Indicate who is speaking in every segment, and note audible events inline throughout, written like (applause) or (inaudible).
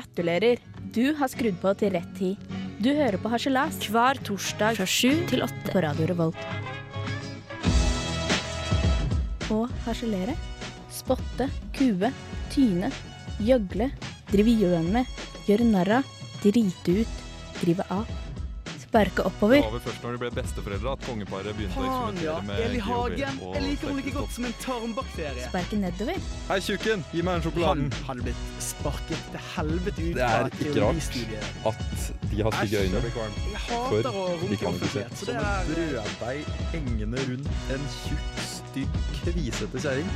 Speaker 1: Gratulerer! Du har skrudd på til rett tid. Du hører på Harselas
Speaker 2: Hver torsdag
Speaker 1: fra sju til åtte på Radio Revolt. Å harselere, spotte, kue, tyne, gjøgle, drive gjøn med, gjøre narr av, drite ut, drive av. Sparke
Speaker 3: Det
Speaker 1: oppover.
Speaker 3: var vel først når de ble besteforeldre at kongeparet begynte å
Speaker 4: Faen, ja.
Speaker 3: eksperimentere med
Speaker 4: Eli Hagen.
Speaker 3: GHB og
Speaker 4: Jeg liker henne like
Speaker 3: sterke
Speaker 4: godt som en tarmbakterie.
Speaker 1: Sparke nedover.
Speaker 3: stoff. Hei, tjukken! Gi meg den
Speaker 4: Han
Speaker 3: sjokoladen!
Speaker 4: hadde blitt sparket til helvete ut
Speaker 5: Det er ikke rart.
Speaker 4: teoristudiet.
Speaker 5: At de har stygge øyne.
Speaker 4: Jeg hater å
Speaker 5: de
Speaker 4: runke
Speaker 5: kan ikke se.
Speaker 4: offentlighet, så det er
Speaker 5: brødbeig hengende rundt en tjukk, stygg, kvisete kjerring.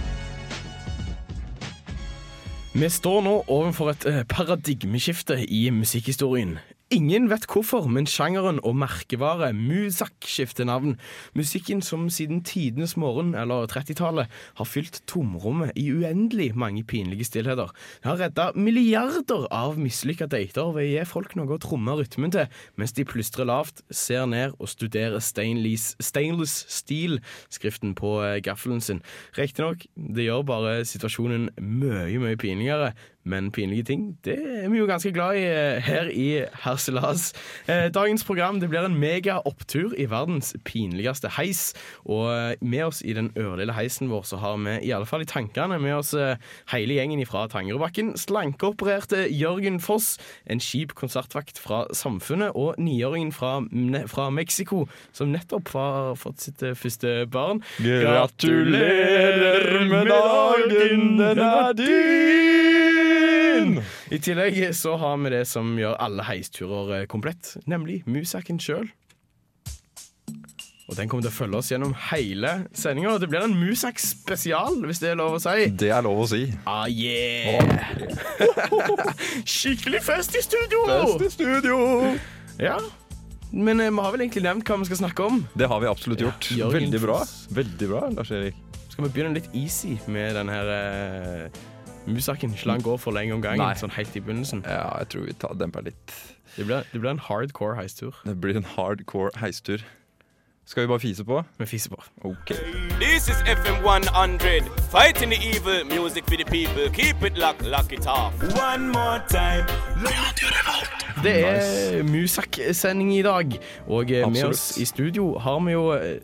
Speaker 6: Vi står nå overfor et eh, paradigmeskifte i musikkhistorien. Ingen vet hvorfor, men sjangeren og merkevaret Muzak skifter navn. Musikken som siden tidenes morgen, eller 30-tallet, har fylt tomrommet i uendelig mange pinlige stillheter. Det har redda milliarder av mislykka dater ved å gi folk noe å tromme rytmen til, mens de plystrer lavt, ser ned og studerer stainless, stainless steel-skriften på eh, gaffelen sin. Riktignok, det gjør bare situasjonen mye, mye pinligere. Men pinlige ting, det er vi jo ganske glad i eh, her i Herselas. Eh, Dagens program det blir en mega opptur i verdens pinligste heis. Og eh, med oss i den ørlille heisen vår så har vi i alle fall i tankene med oss eh, hele gjengen fra Tangerudbakken. Slankeopererte Jørgen Foss, en kjip konsertvakt fra Samfunnet, og niåringen fra, ne- fra Mexico som nettopp har fått sitt eh, første barn.
Speaker 3: Gratulerer med dagen, den er din!
Speaker 6: I tillegg så har vi det som gjør alle heisturer eh, komplett, nemlig musaken sjøl. Og den kommer til å følge oss gjennom hele sendinga. Det blir en Musak-spesial, hvis det er lov å si.
Speaker 5: Det er lov å si.
Speaker 6: Ah, yeah! Skikkelig fest i studio!
Speaker 5: studio!
Speaker 6: Ja. Men eh, vi har vel egentlig nevnt hva vi skal snakke om.
Speaker 5: Det har vi absolutt gjort.
Speaker 6: Ja, Jørgen
Speaker 5: Veldig bra.
Speaker 6: Foss.
Speaker 5: Veldig bra, Lars-Erik.
Speaker 6: Skal vi begynne litt easy med den her eh, Musaken slang går for lenge om gangen,
Speaker 5: Nei.
Speaker 6: sånn helt i begynnelsen.
Speaker 5: Ja, jeg tror vi tar demper litt.
Speaker 6: Det blir, det blir en hardcore heistur.
Speaker 5: Det blir en hardcore heistur. Skal vi bare fise på?
Speaker 6: Vi fiser på.
Speaker 5: OK.
Speaker 7: This is FM 100. Fighting the evil, music for the people. Keep it locked, lock it off. One more time.
Speaker 6: Det er Musak-sending i dag, og eh, med
Speaker 5: Absolutt.
Speaker 6: oss i studio har vi jo eh,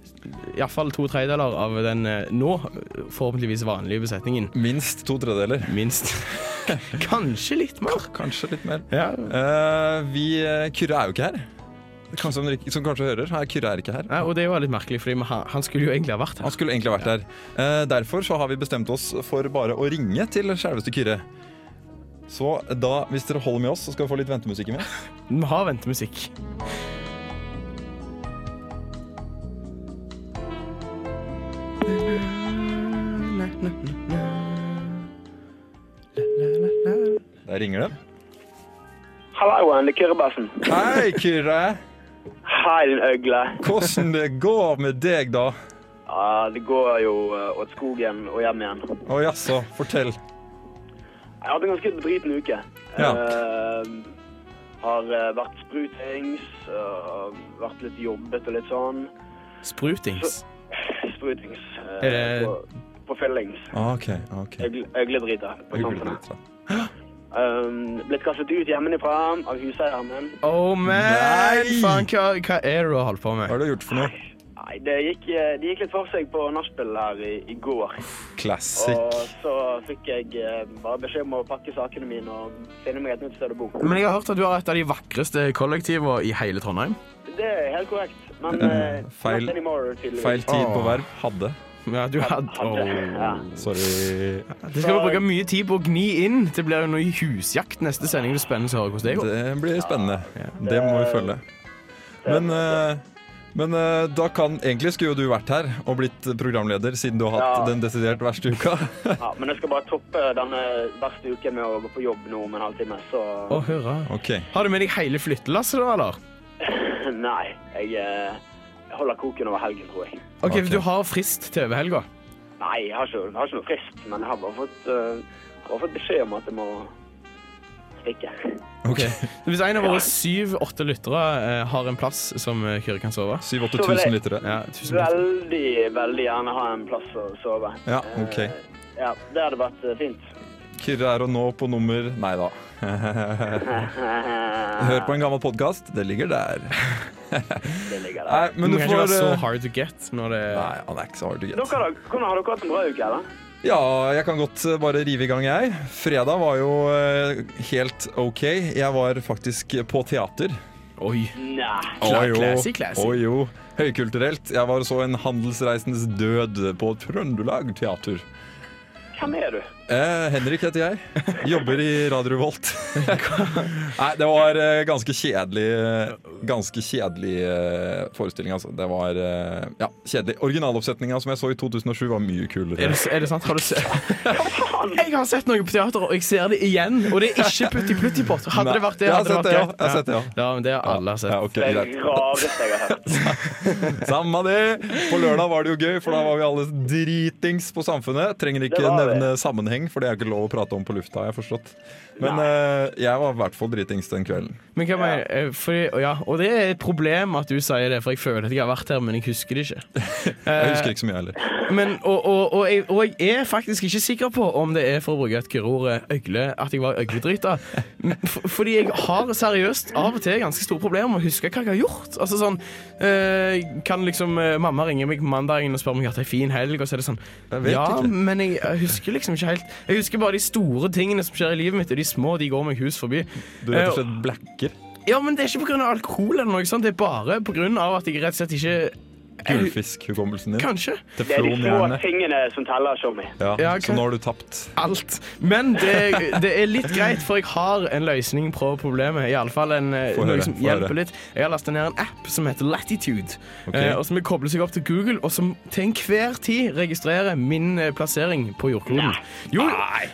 Speaker 6: iallfall to tredjedeler av den eh, nå eh, forhåpentligvis vanlige besetningen.
Speaker 5: Minst to tredjedeler.
Speaker 6: Minst. (laughs) Kanskje litt mer.
Speaker 5: Kanskje litt mer.
Speaker 6: Ja.
Speaker 5: Eh, vi, eh, Kyrre er jo ikke her. Kan- Som, dere- som kanskje hører, her, Kyrre er ikke her.
Speaker 6: Nei, og det var litt merkelig, for han skulle jo egentlig ha vært
Speaker 5: Han
Speaker 6: her.
Speaker 5: skulle egentlig ha vært her. Eh, derfor så har vi bestemt oss for bare å ringe til selveste Kyrre. Så da, hvis dere holder med oss, så skal vi få litt ventemusikk med.
Speaker 6: Vi har ventemusikk.
Speaker 5: Der ringer det.
Speaker 8: Hallauen, det er Kyrrebassen.
Speaker 5: Hei, Kyrre!
Speaker 8: Hei, din øgle.
Speaker 5: Hvordan det går med deg, da?
Speaker 8: Ja, det går jo eh, åt skogen og hjem igjen.
Speaker 5: Å jaså, fortell.
Speaker 8: Jeg hadde en ganske bedriten uke.
Speaker 5: Ja.
Speaker 8: Eh, har eh, vært sprutings, eh, vært litt jobbet og litt sånn.
Speaker 6: Sprutings.
Speaker 8: Sprutings. eh,
Speaker 6: Er det-
Speaker 8: på, på fyllings.
Speaker 5: Ah, OK. ok.
Speaker 8: Øgle- Øgledriter på
Speaker 5: Hyggelig litt,
Speaker 8: samfunnet.
Speaker 5: da.
Speaker 8: Eh, blitt kastet ut hjemmefra av huseieren min.
Speaker 6: Oh man!
Speaker 5: Nei!
Speaker 6: Faen, hva, hva er det du har holdt på
Speaker 5: Hva
Speaker 6: med?
Speaker 5: har du gjort for noe?
Speaker 8: Nei, det gikk, eh, det gikk litt for seg på nachspiel her i, i går.
Speaker 5: Classic.
Speaker 8: Og så fikk jeg eh, bare beskjed om å pakke sakene mine og finne meg et nytt sted å bo.
Speaker 6: Men jeg har hørt at du har et av de vakreste kollektivene i hele Trondheim.
Speaker 8: Det er helt korrekt, men
Speaker 5: Eh,
Speaker 8: eh,
Speaker 5: feil-
Speaker 8: not anymore, tydeligvis.
Speaker 5: Feil tid på verv. Hadde.
Speaker 6: Ja, du hadde...
Speaker 8: Ja.
Speaker 6: Åh.
Speaker 5: Sorry.
Speaker 6: Det skal vi bruke mye tid på å gni inn. Det blir jo noe husjakt neste sending. Det blir spennende å høre hvordan det går.
Speaker 5: Det blir spennende. Det må vi følge. Men, eh, men eh, da kan Egentlig skulle jo du vært her og blitt programleder, siden du har hatt
Speaker 8: Ja.
Speaker 5: den desidert verste uka. (laughs)
Speaker 8: Ja, men jeg skal bare toppe denne verste uken med å gå på jobb nå om en halvtime, så
Speaker 6: Å, høre.
Speaker 5: OK.
Speaker 6: Har du med deg hele flyttelasset, da, eller?
Speaker 8: (laughs) Nei, jeg eh, holder koken over helgen, tror jeg.
Speaker 6: OK,
Speaker 5: Ok.
Speaker 6: du har frist til over helga.
Speaker 8: Nei, jeg har ikke, jeg har ikke noe frist, men jeg har bare fått, eh, bare fått beskjed om at jeg må stikke.
Speaker 5: ok.
Speaker 6: (laughs) Hvis en av våre syv-åtte lyttere eh, har en plass som eh, Kyrre kan sove
Speaker 5: 7000-8000
Speaker 8: Så vil jeg-
Speaker 5: lyttere.
Speaker 6: Ja, tusen takk.
Speaker 8: Veldig, veldig gjerne ha en plass å sove.
Speaker 5: Ja, ok.
Speaker 8: Eh, ja, det hadde vært eh, fint.
Speaker 5: Kyrre er å nå på nummer Nei da. Hør på en gammel podkast. Det ligger der.
Speaker 8: (laughs) Det ligger
Speaker 5: Nei,
Speaker 8: der.
Speaker 5: men du
Speaker 6: må ikke
Speaker 5: får
Speaker 6: være så
Speaker 5: eh,
Speaker 6: hard to get når det
Speaker 5: Nei, han er ikke så hard to
Speaker 8: Dere
Speaker 5: get.
Speaker 8: da, hvordan har dere hatt en bra uke, eller?
Speaker 5: Ja, jeg kan godt eh, bare rive i gang, jeg. Fredag var jo eh, helt OK. Jeg var faktisk på teater.
Speaker 6: Oi.
Speaker 8: Nei.
Speaker 5: Å jo.
Speaker 6: classy, classy.
Speaker 5: Å jo. Høykulturelt. Jeg var og så en handelsreisens død på Trøndelag Teater.
Speaker 8: Hvem er du?
Speaker 5: Eh, Henrik heter jeg. (laughs) Jobber i Radio Revolt. (laughs) Nei, det var eh, ganske kjedelig eh, Ganske kjedelig eh, forestilling, altså. Det var eh, ja, kjedelig. Originaloppsetninga som jeg så i 2007, var mye
Speaker 6: Er
Speaker 5: kulere.
Speaker 6: det, er det sant? Har du
Speaker 5: (laughs)
Speaker 6: se... Jeg har sett noe på teater, og jeg ser det igjen. Og det er ikke Plutti Plutti Pott. Hadde det vært det,
Speaker 5: Jeg har
Speaker 6: hadde det
Speaker 5: sett det, ja.
Speaker 6: vært
Speaker 5: Jeg har sett det, ja.
Speaker 6: Ja, men det har alle sett.
Speaker 5: Ja, ok,
Speaker 8: Det er
Speaker 5: greit.
Speaker 8: det rareste jeg har hørt.
Speaker 5: Samme det! På lørdag var det jo gøy, for da var vi alle dritings på samfunnet. Trenger ikke
Speaker 8: Det var vi.
Speaker 5: nevne sammenheng, for det er ikke lov å prate om på lufta, har jeg forstått. Men eh, jeg var i hvert fall dritings den kvelden.
Speaker 6: Men hva mener eh, fordi- og ja, Og det er et problem at du sier det, for jeg føler at jeg har vært her, men jeg husker det ikke. Eh,
Speaker 5: Jeg husker ikke så mye heller.
Speaker 6: Men, og, og, og, jeg, og jeg er faktisk ikke sikker på om det er for å bruke et kurord eh, øgle, at jeg var øgledrita. Men f- Fordi jeg har seriøst av og til ganske store problemer med å huske hva jeg har gjort. Altså sånn eh, Kan liksom eh, Mamma ringer meg på mandagen og spør om jeg har hatt ei fin helg, og så er det sånn
Speaker 5: vet
Speaker 6: Ja,
Speaker 5: ikke.
Speaker 6: men jeg eh, husker liksom ikke helt Jeg husker bare de store tingene som skjer i livet mitt, og de små de går meg hus forbi.
Speaker 5: Du rett
Speaker 6: Eh,
Speaker 5: og slett blacker.
Speaker 6: Ja, men det er ikke pga. alkohol eller noe sånt, det er bare pga. at jeg rett og slett ikke
Speaker 5: Gullfiskhukommelsen din.
Speaker 6: Kanskje.
Speaker 8: Det er de
Speaker 5: Teflonhjerne.
Speaker 8: få tingene som teller, Tjommi.
Speaker 5: Ja,
Speaker 6: Ja, ok.
Speaker 5: så nå har du tapt.
Speaker 6: alt. Men det, det er litt greit, for jeg har en løsning på problemet. Iallfall en eh,
Speaker 5: Få høre,
Speaker 6: noe som
Speaker 5: få
Speaker 6: hjelper
Speaker 5: høre.
Speaker 6: litt. Jeg har lastet ned en app som heter Latitude.
Speaker 5: Ok.
Speaker 6: eh, Og som kobler seg opp til Google, og som til enhver tid registrerer min eh, plassering på jordkloden. Jo,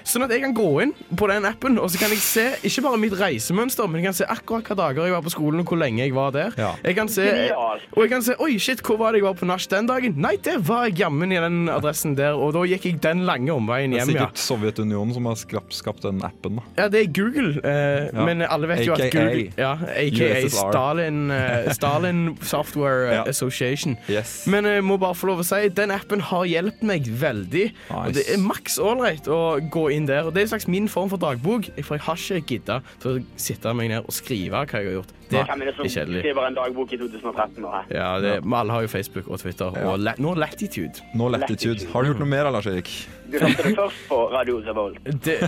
Speaker 6: sånn at jeg kan gå inn på den appen, og så kan jeg se ikke bare mitt reisemønster, men jeg kan se akkurat hvilke dager jeg var på skolen, og hvor lenge jeg var der.
Speaker 5: Ja.
Speaker 6: Jeg kan se,
Speaker 8: Genialt.
Speaker 6: og jeg kan se Oi, shit, hvor var det jeg var på nach den dagen? Nei, det var jeg jammen i den adressen der, og da gikk jeg den lange omveien
Speaker 5: Det er
Speaker 6: hjem, ja.
Speaker 5: sikkert Sovjetunionen som har skrapt, skapt den appen. da.
Speaker 6: Ja, det er Google, eh,
Speaker 5: Ja.
Speaker 6: men alle vet jo at
Speaker 5: AKA.
Speaker 6: Google ja, AKA
Speaker 5: USSR.
Speaker 6: Stalin,
Speaker 5: (laughs)
Speaker 6: eh, Stalin Software eh,
Speaker 5: Ja.
Speaker 6: Association.
Speaker 5: Yes.
Speaker 6: Men jeg må bare få lov å si den appen har hjulpet meg veldig. Og det er maks ålreit å gå inn der. Og Det er en slags min form for dagbok, for jeg har ikke gidda til å sitte meg ned og skrive hva jeg har gjort. Det
Speaker 8: Hvem er det
Speaker 6: er
Speaker 8: som
Speaker 6: kjedelig.
Speaker 8: skriver en dagbok i 2013 nå? hæ?
Speaker 6: Ja, det, men Alle har jo Facebook og Twitter, og la, nå Latitude.
Speaker 5: Nå latitude. Har du gjort noe mer, Lars Erik?
Speaker 8: Du hørte det først på Radio Revolt.
Speaker 6: Det,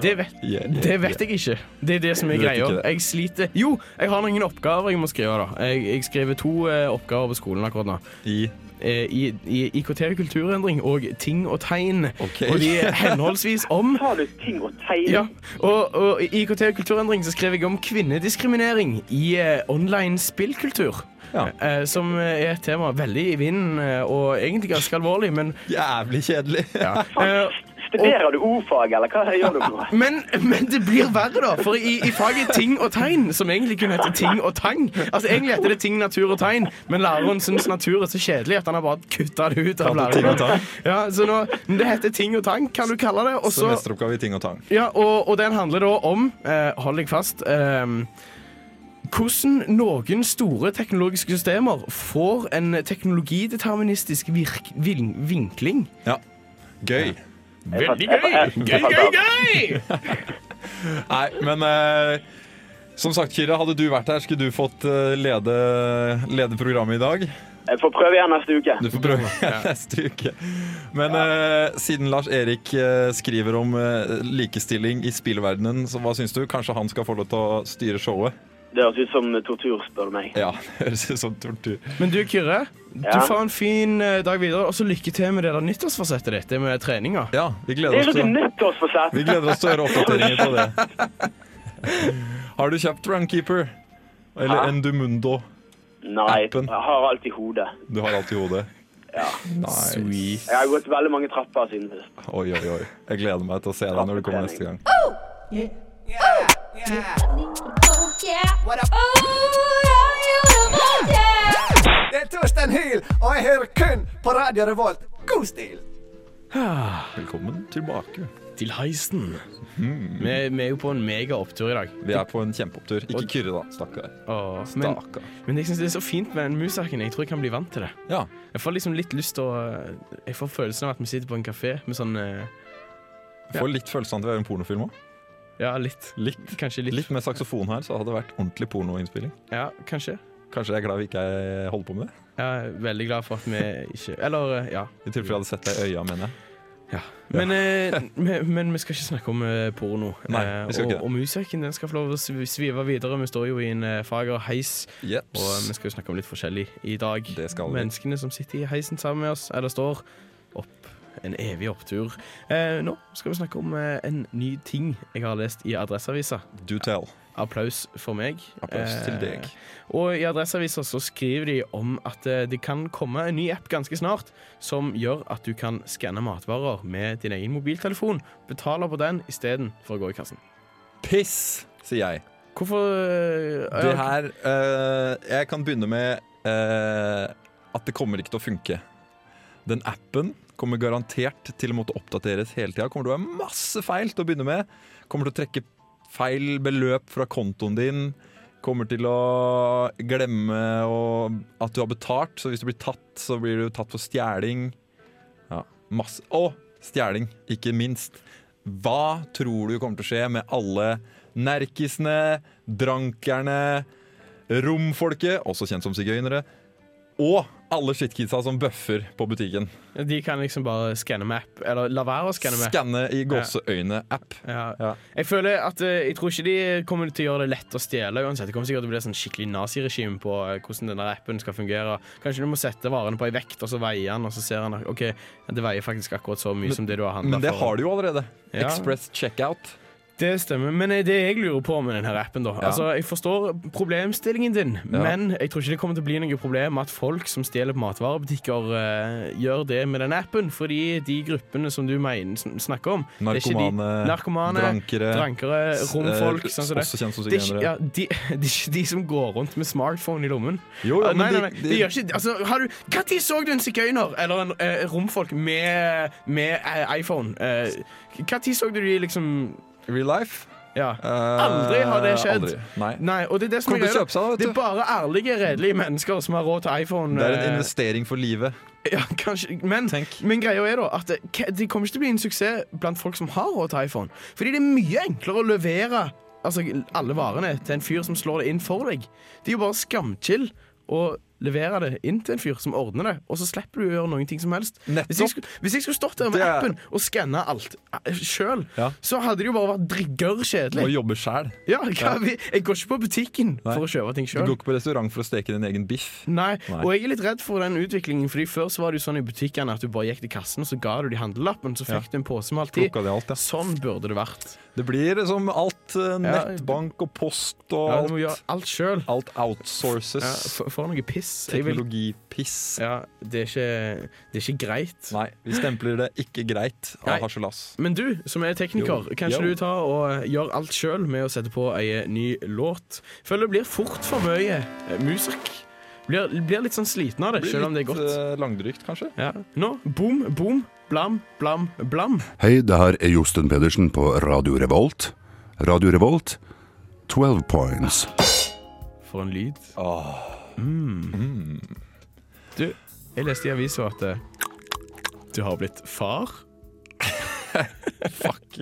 Speaker 6: det vet
Speaker 5: (laughs) Yeah, yeah,
Speaker 6: Det vet jeg ikke. Det er det som er
Speaker 5: Du vet ikke
Speaker 6: greia.
Speaker 5: det.
Speaker 6: Jeg sliter Jo, jeg har noen oppgaver jeg må skrive. da Jeg, jeg skriver to eh, oppgaver på skolen akkurat nå.
Speaker 5: I
Speaker 6: Eh, I, i IKT kulturendring og ting og tegn.
Speaker 5: Ok.
Speaker 6: Og de er henholdsvis om
Speaker 5: (laughs)
Speaker 8: Har du ting å tegne?
Speaker 6: ja, og, og i IKT kulturendring så skrev jeg om kvinnediskriminering i eh, online spillkultur.
Speaker 5: Ja.
Speaker 6: Eh, som er et tema veldig i vinden, eh, og egentlig ganske alvorlig, men
Speaker 5: Jævlig kjedelig. (laughs)
Speaker 6: eh,
Speaker 8: Studerer du ordfag, eller hva gjør du nå?
Speaker 6: Men, men det blir verre, da. For i, i faget ting og tegn, som egentlig kunne hete ting og tang Altså Egentlig heter det ting, natur og tegn, men læreren syns natur er så kjedelig at han har bare kutta det ut. av
Speaker 5: Kaller det ting og
Speaker 6: læreren. Ja, så nå, men det heter ting og tang, kan du kalle det. Og, så,
Speaker 5: Semesteroppgave i ting og tang.
Speaker 6: ja, og, og den handler da om eh, Hold deg fast. Eh, hvordan noen store teknologiske systemer får en teknologideterministisk virk, vin, vinkling.
Speaker 5: Ja. Gøy.
Speaker 6: Veldig gøy! Gøy, gøy, gøy!
Speaker 5: Nei, men eh, som sagt, Kyrre, hadde du vært her, skulle du fått eh, lede, lede programmet i dag.
Speaker 8: Jeg får prøve igjen neste uke.
Speaker 5: Du får prøve igjen (laughs) neste uke. Men eh, siden Lars Erik eh, skriver om eh, likestilling i spillverdenen, så hva syns du? Kanskje han skal få lov til å styre showet?
Speaker 8: Det høres ut som tortur, spør du meg.
Speaker 5: (laughs) Ja, (laughs) det høres ut som tortur.
Speaker 6: Men du, Kyrre. Du
Speaker 8: Ja.
Speaker 6: får en fin eh, dag videre, og så lykke til med det der nyttårsforsettet ditt. Det med treninga.
Speaker 5: Ja, vi
Speaker 8: Det
Speaker 5: gleder
Speaker 8: er
Speaker 5: oss
Speaker 8: jo ikke
Speaker 5: til,
Speaker 8: nyttårsforsett.
Speaker 5: vi gleder oss til å høre oppdateringer på det.
Speaker 8: (laughs)
Speaker 5: Har du kjøpt Runkeeper? Eller
Speaker 8: Hæ?
Speaker 5: Endumundo?
Speaker 8: Nei,
Speaker 5: Appen.
Speaker 8: jeg har alt i hodet.
Speaker 5: Du har alt i hodet.
Speaker 8: Ja.
Speaker 5: Nice.
Speaker 8: Jeg har gått veldig mange trapper siden sist.
Speaker 5: Oi, oi, oi. Jeg gleder meg til å se deg når du kommer neste gang.
Speaker 2: Det er Torstein Hyl, og jeg hører kun på Radio Revolt. God stil!
Speaker 5: Velkommen tilbake.
Speaker 6: Ah, Til heisen. Vi, vi er jo på en megaopptur i dag.
Speaker 5: Vi er på en kjempeopptur. Ikke Kyrre, da. Stakkar.
Speaker 6: Åh, men,
Speaker 5: Stakkar.
Speaker 6: men jeg syns det er så fint med den musaken. Jeg tror jeg kan bli vant til det.
Speaker 5: Ja.
Speaker 6: Jeg får liksom litt lyst til å Jeg får følelsen av at vi sitter på en kafé med sånn eh,
Speaker 5: Jeg får litt følelsen av at vi er i en pornofilm òg.
Speaker 6: Ja, litt.
Speaker 5: Litt,
Speaker 6: Kanskje litt.
Speaker 5: litt med saksofon her, så hadde det vært ordentlig pornoinnspilling.
Speaker 6: Ja, kanskje.
Speaker 5: Kanskje jeg er glad vi ikke eh, holder på med det.
Speaker 6: Jeg er veldig glad for at vi ikke Eller, eh, ja.
Speaker 5: I tilfelle jeg hadde sett deg i øya, mener jeg.
Speaker 6: Men, eh, vi- men vi skal ikke snakke om eh, porno.
Speaker 5: Nei,
Speaker 6: Eh,
Speaker 5: vi skal
Speaker 6: og,
Speaker 5: ikke det.
Speaker 6: og musikken den skal få lov å sv- svive videre. Vi står jo i en eh, fager heis,
Speaker 5: Jeps.
Speaker 6: og eh, vi skal jo snakke om litt forskjellig i dag.
Speaker 5: Det skal vi.
Speaker 6: Menneskene som sitter i heisen sammen med oss, eller står opp en evig opptur. Eh, nå skal vi snakke om eh, en ny ting jeg har lest i Adresseavisa.
Speaker 5: um, Do tell.
Speaker 6: Applaus for meg. Eh,
Speaker 5: Applaus til deg.
Speaker 6: Og i Adresseavisa så skriver de om at eh, det kan komme en ny app ganske snart som gjør at du kan skanne matvarer med din egen mobiltelefon, betale på den istedenfor å gå i kassen.
Speaker 5: Piss, sier jeg.
Speaker 6: Hvorfor eh,
Speaker 5: Det
Speaker 6: ja,
Speaker 5: her eh, Jeg kan begynne med eh, at det kommer ikke til å funke. Den appen kommer garantert til å måtte oppdateres hele tida. Kommer til å være masse feil til å begynne med. Kommer til å trekke feil beløp fra kontoen din. Kommer til å glemme å, at du har betalt, så hvis du blir tatt, så blir du tatt for stjeling. Ja, masse. Og stjeling, ikke minst. Hva tror du kommer til å skje med alle nerkisene, drankerne, romfolket, også kjent som sigøynere, og alle shitkidsa som bøffer på butikken.
Speaker 6: De kan liksom bare skanne med app, eller la være å skanne med app.
Speaker 5: Skanne i gåseøyne-app.
Speaker 6: Ja.
Speaker 5: Ja.
Speaker 6: Jeg føler at eh, Jeg tror ikke de kommer til å gjøre det lett å stjele uansett. Det kommer sikkert til å bli et sånn skikkelig naziregime på eh, hvordan denne appen skal fungere. Kanskje du må sette varene på ei vekt, og så veier den, og så ser han at OK, det veier faktisk akkurat så mye som det du har handla
Speaker 5: Men det har du jo allerede.
Speaker 6: Ja.
Speaker 5: Express checkout.
Speaker 6: Det stemmer. Men eh, det jeg lurer på med denne appen, da Altså, Jeg forstår problemstillingen din, men jeg tror ikke det kommer til å bli noe problem at folk som stjeler på matvarebutikker, eh, gjør det med den appen, fordi de gruppene som du mener, sn- snakker om det er ikke
Speaker 5: Narkomane,
Speaker 6: de, narkomane
Speaker 5: drankere,
Speaker 6: drankere romfolk,
Speaker 5: eh,
Speaker 6: sånn som det.
Speaker 5: også kjent som
Speaker 6: Det er, ikke,
Speaker 5: sigøynere.
Speaker 6: ja, de, (laughs) det er ikke de som går rundt med smartphone i lommen.
Speaker 5: Jo, ja,
Speaker 6: Ah, nei,
Speaker 5: men
Speaker 6: nei,
Speaker 5: de-
Speaker 6: nei, de,
Speaker 5: de-
Speaker 6: gjør ikke altså, har du, Hva tid så du en sigøyner eller en eh, romfolk med, med eh, iPhone? Eh, hva tid så du de liksom
Speaker 5: Real life.
Speaker 6: Ja.
Speaker 5: Eh,
Speaker 6: Aldri har det skjedd.
Speaker 5: aldri. Nei.
Speaker 6: Nei, og det er det som
Speaker 5: Kommer til
Speaker 6: er
Speaker 5: å
Speaker 6: greia.
Speaker 5: kjøpe seg da, vet
Speaker 6: Det er
Speaker 5: du.
Speaker 6: bare ærlige, redelige mennesker som har råd til iPhone.
Speaker 5: Det er en
Speaker 6: eh,
Speaker 5: investering for livet.
Speaker 6: (laughs) ja, kanskje, men,
Speaker 5: Tenk.
Speaker 6: men greia er da at det k- det kommer ikke til å bli en suksess blant folk som har råd til iPhone. Fordi det er mye enklere å levere altså, alle varene til en fyr som slår det inn for deg. Det er jo bare skamchill å levere det inn til en fyr som ordner det, og så slipper du å gjøre noen ting som helst. Hvis jeg,
Speaker 5: Nettopp.
Speaker 6: skulle, hvis jeg skulle stått der med
Speaker 5: Det er-
Speaker 6: appen og skanna alt sjøl,
Speaker 5: Ja.
Speaker 6: så hadde det jo bare vært
Speaker 5: Og
Speaker 6: driggørkjedelig.
Speaker 5: jobbe sjæl.
Speaker 6: Ja, hva, vi- Jeg går ikke på butikken
Speaker 5: Nei.
Speaker 6: for å kjøpe ting
Speaker 5: Du
Speaker 6: sjøl.
Speaker 5: går ikke på restaurant for å steke din egen biff.
Speaker 6: Nei.
Speaker 5: Nei.
Speaker 6: og jeg er litt redd for den utviklingen. Fordi Før så var det jo sånn i butikkene at du bare gikk til kassen, og så ga du de handlelappen, så fikk
Speaker 5: Ja.
Speaker 6: du en pose med alt i.
Speaker 5: Plukka det alt, ja.
Speaker 6: Sånn burde det vært.
Speaker 5: Det blir som alt eh, nettbank og post og
Speaker 6: Ja, du må gjøre
Speaker 5: alt.
Speaker 6: alt sjøl.
Speaker 5: Alt
Speaker 6: Ja,
Speaker 5: outsources.
Speaker 6: for, for noe piss. Jeg vil,
Speaker 5: Teknologipiss.
Speaker 6: ja, det, er ikke, det er ikke greit.
Speaker 5: Nei, vi stempler det ikke greit
Speaker 6: Nei.
Speaker 5: av harselas.
Speaker 6: Men du, som er tekniker,
Speaker 5: Jo.
Speaker 6: kan ikke
Speaker 5: Jo.
Speaker 6: du ta og eh, gjøre alt sjøl med å sette på ei eh, ny låt? Føler det blir fort for mye eh, musikk. Blir, blir litt sånn sliten av det, sjøl om det er godt.
Speaker 5: eh, langdrygt, kanskje.
Speaker 6: Ja. Nå, boom, boom, blam, blam, blam.
Speaker 9: Hei, det her er Josten Pedersen på Radio Revolt. Radio Revolt, 12 points.
Speaker 6: For en lyd. Mm. Du, jeg leste i avisa at eh, du har blitt far. Fuck.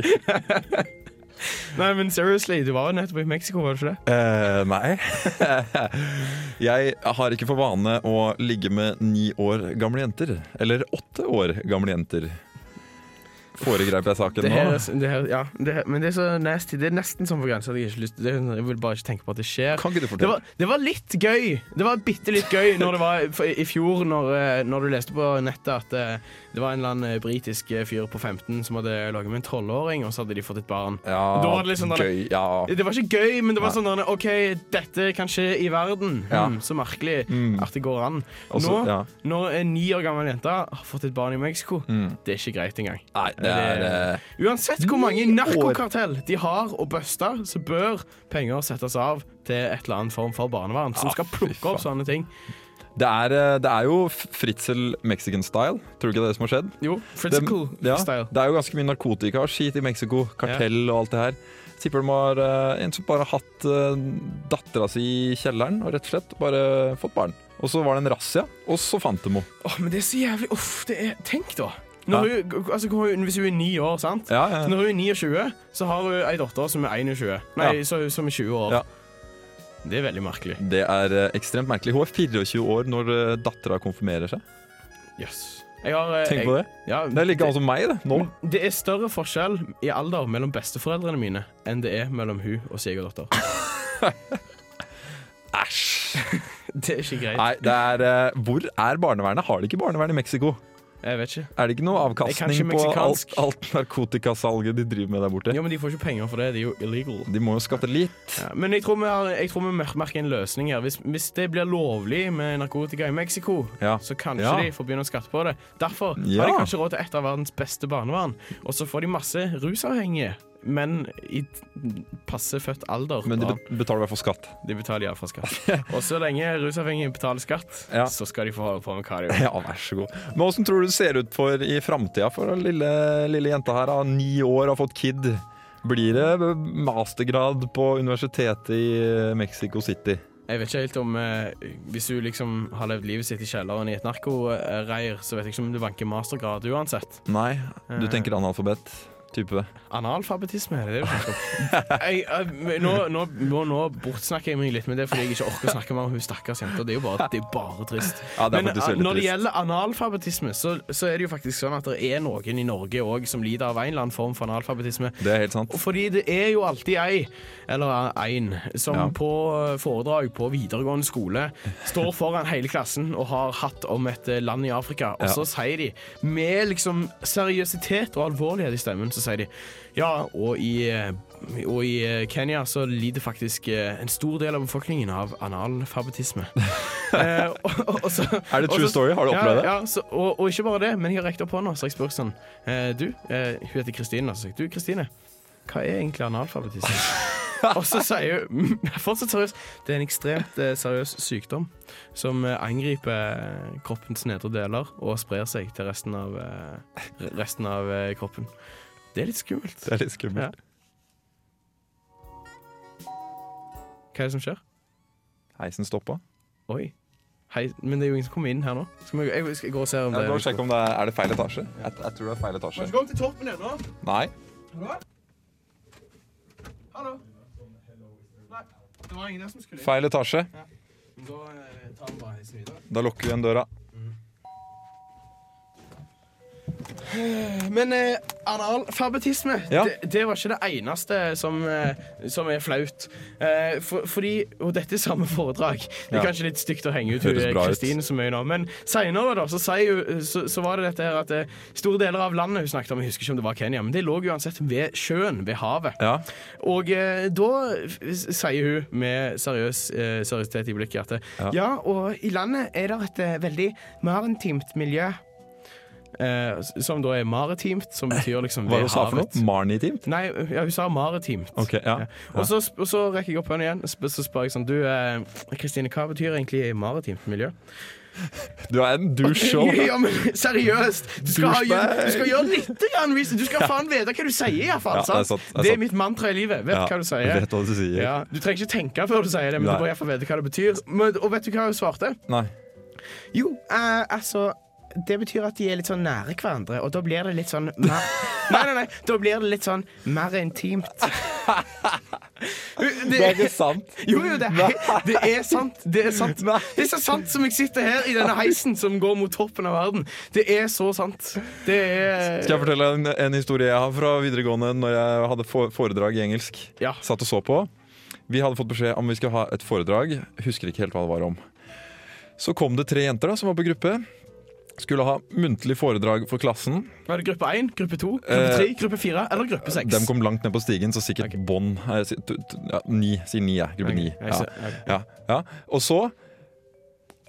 Speaker 6: Nei, men seriously, du var jo nettopp i Mexico, var du ikke det?
Speaker 5: (laughs) Eh, nei. (laughs) jeg har ikke for vane å ligge med ni år gamle jenter. Eller åtte år gamle jenter. Foregreip jeg saken
Speaker 6: Det her,
Speaker 5: nå?
Speaker 6: er s- det her, ja, det her, men det er så nasty. Det er nesten sånn for grensa at jeg ikke har lyst det er sånn- Jeg vil bare ikke tenke på at det skjer.
Speaker 5: Kan ikke du
Speaker 6: Det
Speaker 5: fortelle?
Speaker 6: var, det var litt gøy. Det var bitte litt gøy når det var for- i fjor, når, eh, når du leste på nettet at eh, det var en eller annen eh, britisk eh, fyr på 15 som hadde laget med en tolvåring, og så hadde de fått et barn. Da
Speaker 5: Ja,
Speaker 6: var det liksom den-
Speaker 5: gøy. Ja.
Speaker 6: Det var ikke gøy, men det var
Speaker 5: Nei.
Speaker 6: sånn der, OK, dette kan skje i verden.
Speaker 5: Ja.
Speaker 6: Hmm, så merkelig at det går an.
Speaker 5: Og så-
Speaker 6: Nå,
Speaker 5: ja.
Speaker 6: når en ni år gammel jente har fått et barn i Mexico,
Speaker 5: Hmm.
Speaker 6: det er ikke greit engang.
Speaker 5: Nei, det er eh,
Speaker 6: Uansett hvor mange narkokartell de har å buste, så bør penger settes av til et eller annet form for barnevern som
Speaker 5: Ah,
Speaker 6: skal
Speaker 5: fy
Speaker 6: plukke opp sånne ting.
Speaker 5: det er, eh, det er jo Fritzel Mexican style. Tror du ikke det er det som har skjedd?
Speaker 6: Jo, Fritzical
Speaker 5: Det- ja,
Speaker 6: style.
Speaker 5: Det er jo ganske mye narkotika og skit i Mexico. Kartell og alt det her. Tipper de har eh, en som bare har hatt uh, dattera si i kjelleren og rett og slett bare fått barn. Og så var det en razzia, og så fant de henne.
Speaker 6: Åh, men det er så jævlig Uff, det er Tenk, da. Når hun, altså, hvor hun, hvis hun er ni år, sant?
Speaker 5: Ja, ja,
Speaker 6: Så
Speaker 5: ja.
Speaker 6: Når hun er 29, så har hun ei datter som er 21. Nei,
Speaker 5: Ja.
Speaker 6: så, som er 20 år.
Speaker 5: Ja.
Speaker 6: Det er veldig merkelig.
Speaker 5: Det er eh, ekstremt merkelig. Hun er 24 år når eh, dattera konfirmerer seg.
Speaker 6: Jøss. Jeg har eh,
Speaker 5: Tenk
Speaker 6: jeg,
Speaker 5: på det.
Speaker 6: Ja,
Speaker 5: Det er like gammel som meg, det. Nå.
Speaker 6: Det er større forskjell i alder mellom besteforeldrene mine enn det er mellom hun og svigerdatter.
Speaker 5: (laughs) Æsj.
Speaker 6: (laughs) Det er ikke greit.
Speaker 5: Nei, det er eh, Hvor er barnevernet? Har de ikke barnevern i Mexico?
Speaker 6: Jeg vet ikke.
Speaker 5: Er det ikke noe
Speaker 6: Det er kanskje
Speaker 5: avkastning på alt,
Speaker 6: meksikansk.
Speaker 5: alt narkotikasalget de driver med der borte?
Speaker 6: Jo, men de får ikke penger for det. Det er jo illegal.
Speaker 5: De må jo skatte litt.
Speaker 6: Ja, men jeg tror vi, har, jeg tror vi mer- merker en løsning her. Hvis, hvis det blir lovlig med narkotika i Mexico,
Speaker 5: Ja.
Speaker 6: så kanskje
Speaker 5: Ja.
Speaker 6: de får begynne å skatte på det. Derfor
Speaker 5: Ja.
Speaker 6: har de kanskje råd til et av verdens beste barnevern. Og så får de masse rusavhengige, men i t- passe født alder.
Speaker 5: Men de
Speaker 6: av-
Speaker 5: bet- betaler i hvert fall skatt.
Speaker 6: De betaler iallfall skatt. (laughs) Og så lenge rusavhengige betaler skatt,
Speaker 5: Ja.
Speaker 6: så skal de få holde på med hva de vil.
Speaker 5: Ja, vær så god. Men åssen tror du det ser ut for i framtida for den lille, lille jenta her? da? Ni år, har fått kid. Blir det mastergrad på universitetet i Mexico City?
Speaker 6: Jeg vet ikke helt om eh, Hvis hun liksom har levd livet sitt i kjelleren i et narkoreir, så vet jeg ikke om du vanker mastergrad uansett.
Speaker 5: Nei, du tenker analfabet? Type.
Speaker 6: Analfabetisme, er det det du snakker
Speaker 5: (laughs)
Speaker 6: om? Jeg, jeg, nå, nå, nå, nå bortsnakker jeg meg litt med det fordi jeg ikke orker å snakke mer om hun stakkars jenta. Det er jo bare, det er bare trist.
Speaker 5: (laughs) Ja, det er
Speaker 6: Men
Speaker 5: faktisk
Speaker 6: eh,
Speaker 5: veldig
Speaker 6: når det
Speaker 5: trist.
Speaker 6: gjelder analfabetisme, så, så er det jo faktisk sånn at det er noen i Norge òg som lider av en eller annen form for analfabetisme.
Speaker 5: Det er helt sant.
Speaker 6: Og Fordi det er jo alltid ei, eller ein, som
Speaker 5: Ja.
Speaker 6: på eh, foredrag på videregående skole står foran hele klassen og har hatt om et eh, land i Afrika, og så sier de, med liksom seriøsitet og alvorlighet i stemmen, så sier de ja, og i, eh, og i eh, Kenya så lider faktisk eh, en stor del av befolkningen av analfabetisme. Eh, og- og- og så-
Speaker 5: Er det
Speaker 6: og
Speaker 5: true
Speaker 6: så-
Speaker 5: story? Har du opplevd det?
Speaker 6: Ja, ja, så, og, og ikke bare det, men jeg har rekt opp hånda, så jeg spør sånn eh, Du, eh, hun heter Kristine, og så sier jeg du, Kristine, hva er egentlig
Speaker 5: (laughs)
Speaker 6: analfabetisme? og så sier hun (laughs) fortsatt seriøst det er en ekstremt eh, seriøs sykdom som eh, angriper eh, kroppens nedre deler og sprer seg til resten av, eh, resten av eh, kroppen. Det er litt skummelt.
Speaker 5: Det er litt skummelt.
Speaker 6: Hva er det som skjer?
Speaker 5: Heisen stoppa.
Speaker 6: Oi. Hei, men det er jo ingen som kommer inn her nå. Skal vi, jeg skal gå og se om
Speaker 5: Ja,
Speaker 6: det
Speaker 5: bare sjekk om det er, er det feil etasje. Jeg, jeg tror det er feil etasje.
Speaker 4: Kom til toppen ennå.
Speaker 5: Nei.
Speaker 4: Hallo. Nei, det var ingen der som skulle inn.
Speaker 5: Feil etasje.
Speaker 6: Da eh, tar vi bare heisen videre.
Speaker 5: Da lukker vi igjen døra.
Speaker 6: Men eh, analfabetisme,
Speaker 5: Ja.
Speaker 6: det, det var ikke det eneste som, eh, som er flaut. Eh, for, fordi, og dette er samme foredrag. Det er
Speaker 5: Ja.
Speaker 6: kanskje litt stygt å henge ut hun,
Speaker 5: Høres
Speaker 6: eh,
Speaker 5: bra ut.
Speaker 6: Kristine så mye nå, men seinere så, sier hun- så, så var det dette her at eh, store deler av landet hun snakket om, jeg husker ikke om det var Kenya, men det lå uansett ved sjøen, ved havet.
Speaker 5: Ja.
Speaker 6: Og eh, da f- sier hun med seriøs, eh, seriøsitet i blikket at ja. og i landet er det et eh, veldig maritimt miljø. Eh, s- som da er maritimt, som betyr liksom
Speaker 5: Hva var det
Speaker 6: ved
Speaker 5: hun sa for
Speaker 6: havet.
Speaker 5: noe? Marnitimt?
Speaker 6: Nei, ja, hun sa maritimt.
Speaker 5: Ok, ja.
Speaker 6: Og, så, sp- og så rekker jeg opp hånden igjen og sp- så spør jeg sånn Du, eh, Kristine, hva betyr egentlig maritimt miljø?
Speaker 5: Du er en douche òg.
Speaker 6: (laughs) Ja, men seriøst! Du skal, ha,
Speaker 5: Douchebag.
Speaker 6: du skal gjøre lite grann! hvis- Du skal faen vite hva du sier, iallfall.
Speaker 5: Ja, det er sant, det er sant.
Speaker 6: det er mitt mantra i livet. Vet hva du sier.
Speaker 5: Vet hva du sier.
Speaker 6: Ja, du trenger ikke tenke før du sier det, men
Speaker 5: Nei.
Speaker 6: du må iallfall vite hva det betyr. Men, og vet du hva hun svarte?
Speaker 5: Nei.
Speaker 6: Jo, eh, altså det betyr at de er litt sånn nære hverandre, og da blir det litt sånn mer, (laughs) Nei, nei, nei, da blir det litt sånn mer intimt. (laughs)
Speaker 5: Det er ikke sant.
Speaker 6: Jo, jo, det er, det er sant. Det er sant Det er så sant som jeg sitter her i denne heisen som går mot toppen av verden. Det er så sant. Det
Speaker 5: Skal
Speaker 6: er
Speaker 5: jeg fortelle en, en historie jeg har fra videregående når jeg hadde for- foredrag i engelsk?
Speaker 6: Ja.
Speaker 5: Satt og så på. Vi hadde fått beskjed om vi skulle ha et foredrag. Husker ikke helt hva det var om. Så kom det tre jenter da, som var på gruppe. Skulle ha muntlig foredrag for klassen.
Speaker 6: Var det gruppe én, gruppe to, gruppe tre, gruppe fire eller gruppe seks?
Speaker 5: De kom langt ned på stigen, så sikkert
Speaker 6: Ok.
Speaker 5: bånd eh, si- t- t- ja, Ni, sier ni, jeg. Gruppe
Speaker 6: Ok,
Speaker 5: ni.
Speaker 6: jeg
Speaker 5: Ja.
Speaker 6: ser- ok.
Speaker 5: Ja, ja. Og så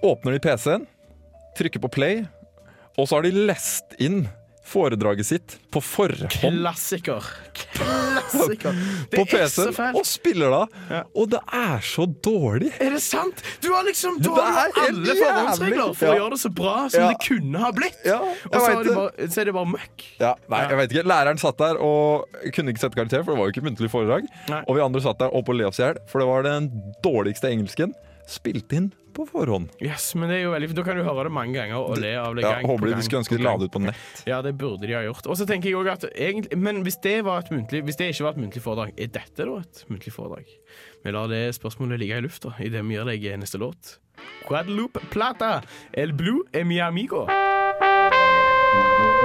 Speaker 5: åpner de PC-en, trykker på play, og så har de lest inn foredraget sitt på forhånd
Speaker 6: Klassiker. Klassiker. Det
Speaker 5: på
Speaker 6: er så
Speaker 5: PC-en
Speaker 6: fælt.
Speaker 5: og spiller da. Og det er så dårlig!
Speaker 6: Er det sant? Du har liksom
Speaker 5: Det
Speaker 6: du
Speaker 5: er
Speaker 6: har
Speaker 5: helt
Speaker 6: alle forhåndsregler for
Speaker 5: jævlig.
Speaker 6: å gjøre det så bra som
Speaker 5: Ja.
Speaker 6: det kunne ha blitt.
Speaker 5: Ja, jeg
Speaker 6: og så,
Speaker 5: vet
Speaker 6: er det
Speaker 5: det.
Speaker 6: bare, så er det bare møkk.
Speaker 5: Ja, nei,
Speaker 6: Ja.
Speaker 5: jeg vet ikke. Læreren satt der og kunne ikke sette karakter, for det var jo ikke muntlig foredrag.
Speaker 6: Nei.
Speaker 5: Og vi andre satt der oppe og le oss i hjel, for det var den dårligste engelsken spilt inn på forhånd.
Speaker 6: Yes, men det er jo veldig, da kan du høre det mange ganger og le av det
Speaker 5: Ja,
Speaker 6: gang på
Speaker 5: håper de
Speaker 6: gang
Speaker 5: skulle ønske
Speaker 6: på
Speaker 5: de la
Speaker 6: gang.
Speaker 5: det ut på nett.
Speaker 6: Ja, det burde de ha gjort. Og så tenker jeg også at egentlig, Men hvis det, var et muntlig, hvis det ikke var et muntlig foredrag, er dette da et muntlig foredrag? Vi lar det spørsmålet ligge i lufta idet vi gir deg neste låt. Guadeloupe Plata, El Blue e mi amigo.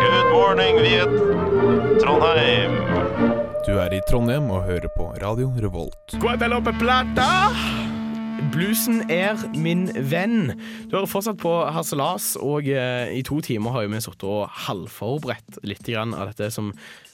Speaker 10: Good morning, Viet. Trondheim.
Speaker 11: Du er i Trondheim og hører på Radio Revolt.
Speaker 6: Guadeloupe Plata! Bluesen er min venn. Du hører fortsatt på Harselas, og eh, i to timer har jo vi sittet og halvforberedt litt grann av dette som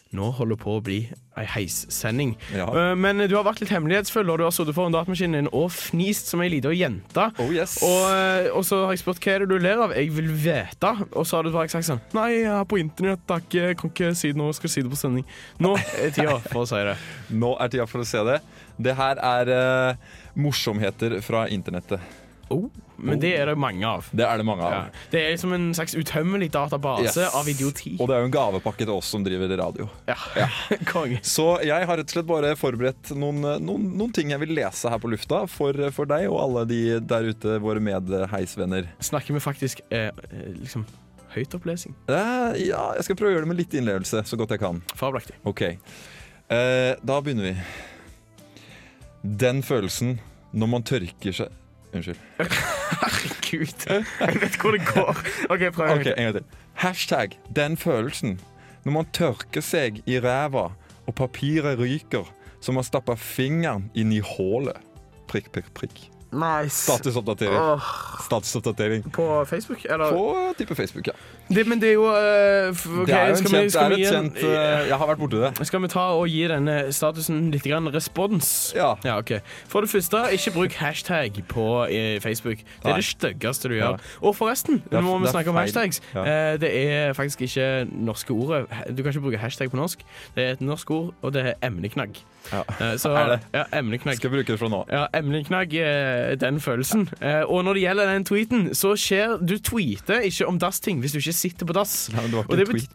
Speaker 6: nå holder på å bli ei heissending.
Speaker 5: Ja.
Speaker 6: Eh, Men du har vært litt hemmelighetsfull, og du har sittet foran datamaskinen din og fnist som ei lita jente.
Speaker 5: Oh yes.
Speaker 6: Og, eh, og så har jeg spurt hva er det du ler av. Jeg vil vite. Og så har du bare sagt sånn Nei, jeg er på internett, takk. Jeg kan ikke si det nå. Jeg skal si det på sending. Nå er tida for å si
Speaker 5: (laughs)
Speaker 6: det.
Speaker 5: Nå er tida for å se det. Det her er eh, morsomheter fra internettet. Oh.
Speaker 6: Men det er det mange av.
Speaker 5: Det er det mange
Speaker 6: Ja.
Speaker 5: av.
Speaker 6: Det er liksom en slags utømmelig database
Speaker 5: Yes.
Speaker 6: av idioti.
Speaker 5: Og det er jo en gavepakke til oss som driver radio.
Speaker 6: Ja. (laughs) Konge.
Speaker 5: Så jeg har rett og slett bare forberedt noen, eh, noen, noen ting jeg vil lese her på lufta for, eh, for deg og alle de der ute, våre medheisvenner.
Speaker 6: Snakker vi faktisk eh, eh, liksom høytopplesing?
Speaker 5: Eh, Ja, jeg skal prøve å gjøre det med litt innlevelse, så godt jeg kan.
Speaker 6: Fabelaktig. (laughs)
Speaker 5: Ok, eh, da begynner vi. Den følelsen når man tørker seg Unnskyld.
Speaker 6: Herregud. Jeg vet hvor det
Speaker 5: (laughs)
Speaker 6: går. OK, prøv.
Speaker 5: Ok, En gang til. Hashtag 'den følelsen' når man tørker seg i ræva og papiret ryker som man stappa fingeren inn i hullet. Prikk, prikk, prikk.
Speaker 6: Nice.
Speaker 5: Statusoppdatering.
Speaker 6: Åh,
Speaker 5: Statusoppdatering.
Speaker 6: på Facebook, eller?
Speaker 5: På type Facebook, ja.
Speaker 6: Det, men det er jo eh, f- ok,
Speaker 5: det er jo en
Speaker 6: skal vi-
Speaker 5: kjent,
Speaker 6: skal
Speaker 5: det
Speaker 6: vi
Speaker 5: er et
Speaker 6: gi en-
Speaker 5: kjent eh, Jeg har vært borti det.
Speaker 6: Skal vi ta og gi denne statusen litt grann respons?
Speaker 5: Ja.
Speaker 6: Ja, ok. For det første, ikke bruk hashtag på eh, Facebook. Det
Speaker 5: Nei.
Speaker 6: er det styggeste du
Speaker 5: Ja.
Speaker 6: gjør. Og forresten,
Speaker 5: er
Speaker 6: nå må
Speaker 5: f-
Speaker 6: vi
Speaker 5: det er
Speaker 6: snakke om
Speaker 5: feil.
Speaker 6: hashtags.
Speaker 5: Ja.
Speaker 6: Eh, Det er faktisk ikke norske ordet. Du kan ikke bruke hashtag på norsk. Det er et norsk ord, og det er emneknagg.
Speaker 5: Ja.
Speaker 6: Eh, Så,
Speaker 5: Er det?
Speaker 6: Ja, emneknagg.
Speaker 5: Skal jeg bruke det fra nå.
Speaker 6: Ja, emneknagg eh, den følelsen. Eh, og når det gjelder den tweeten, så skjer Du tweeter ikke om dass-ting hvis du ikke sitter på dass.
Speaker 5: Nei, men det var ikke
Speaker 6: Og det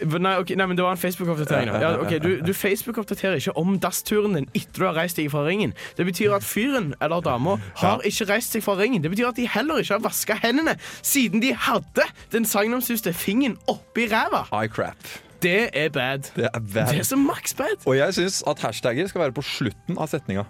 Speaker 5: en
Speaker 6: bet- Nei, ok, nei, men det var en Facebook-oppdatering. da. Ja, ok, Du, du Facebook-oppdaterer ikke om dassturen din etter du har reist deg fra ringen. Det betyr at fyren eller dama har ikke reist seg fra ringen. Det betyr at de heller ikke har vaska hendene siden de hadde den sagnomsuste fingeren oppi ræva.
Speaker 5: I crap.
Speaker 6: Det er bad.
Speaker 5: Det er
Speaker 6: Det
Speaker 5: bad.
Speaker 6: er så maks bad.
Speaker 5: Og jeg syns at hashtagger skal være på slutten av setninga.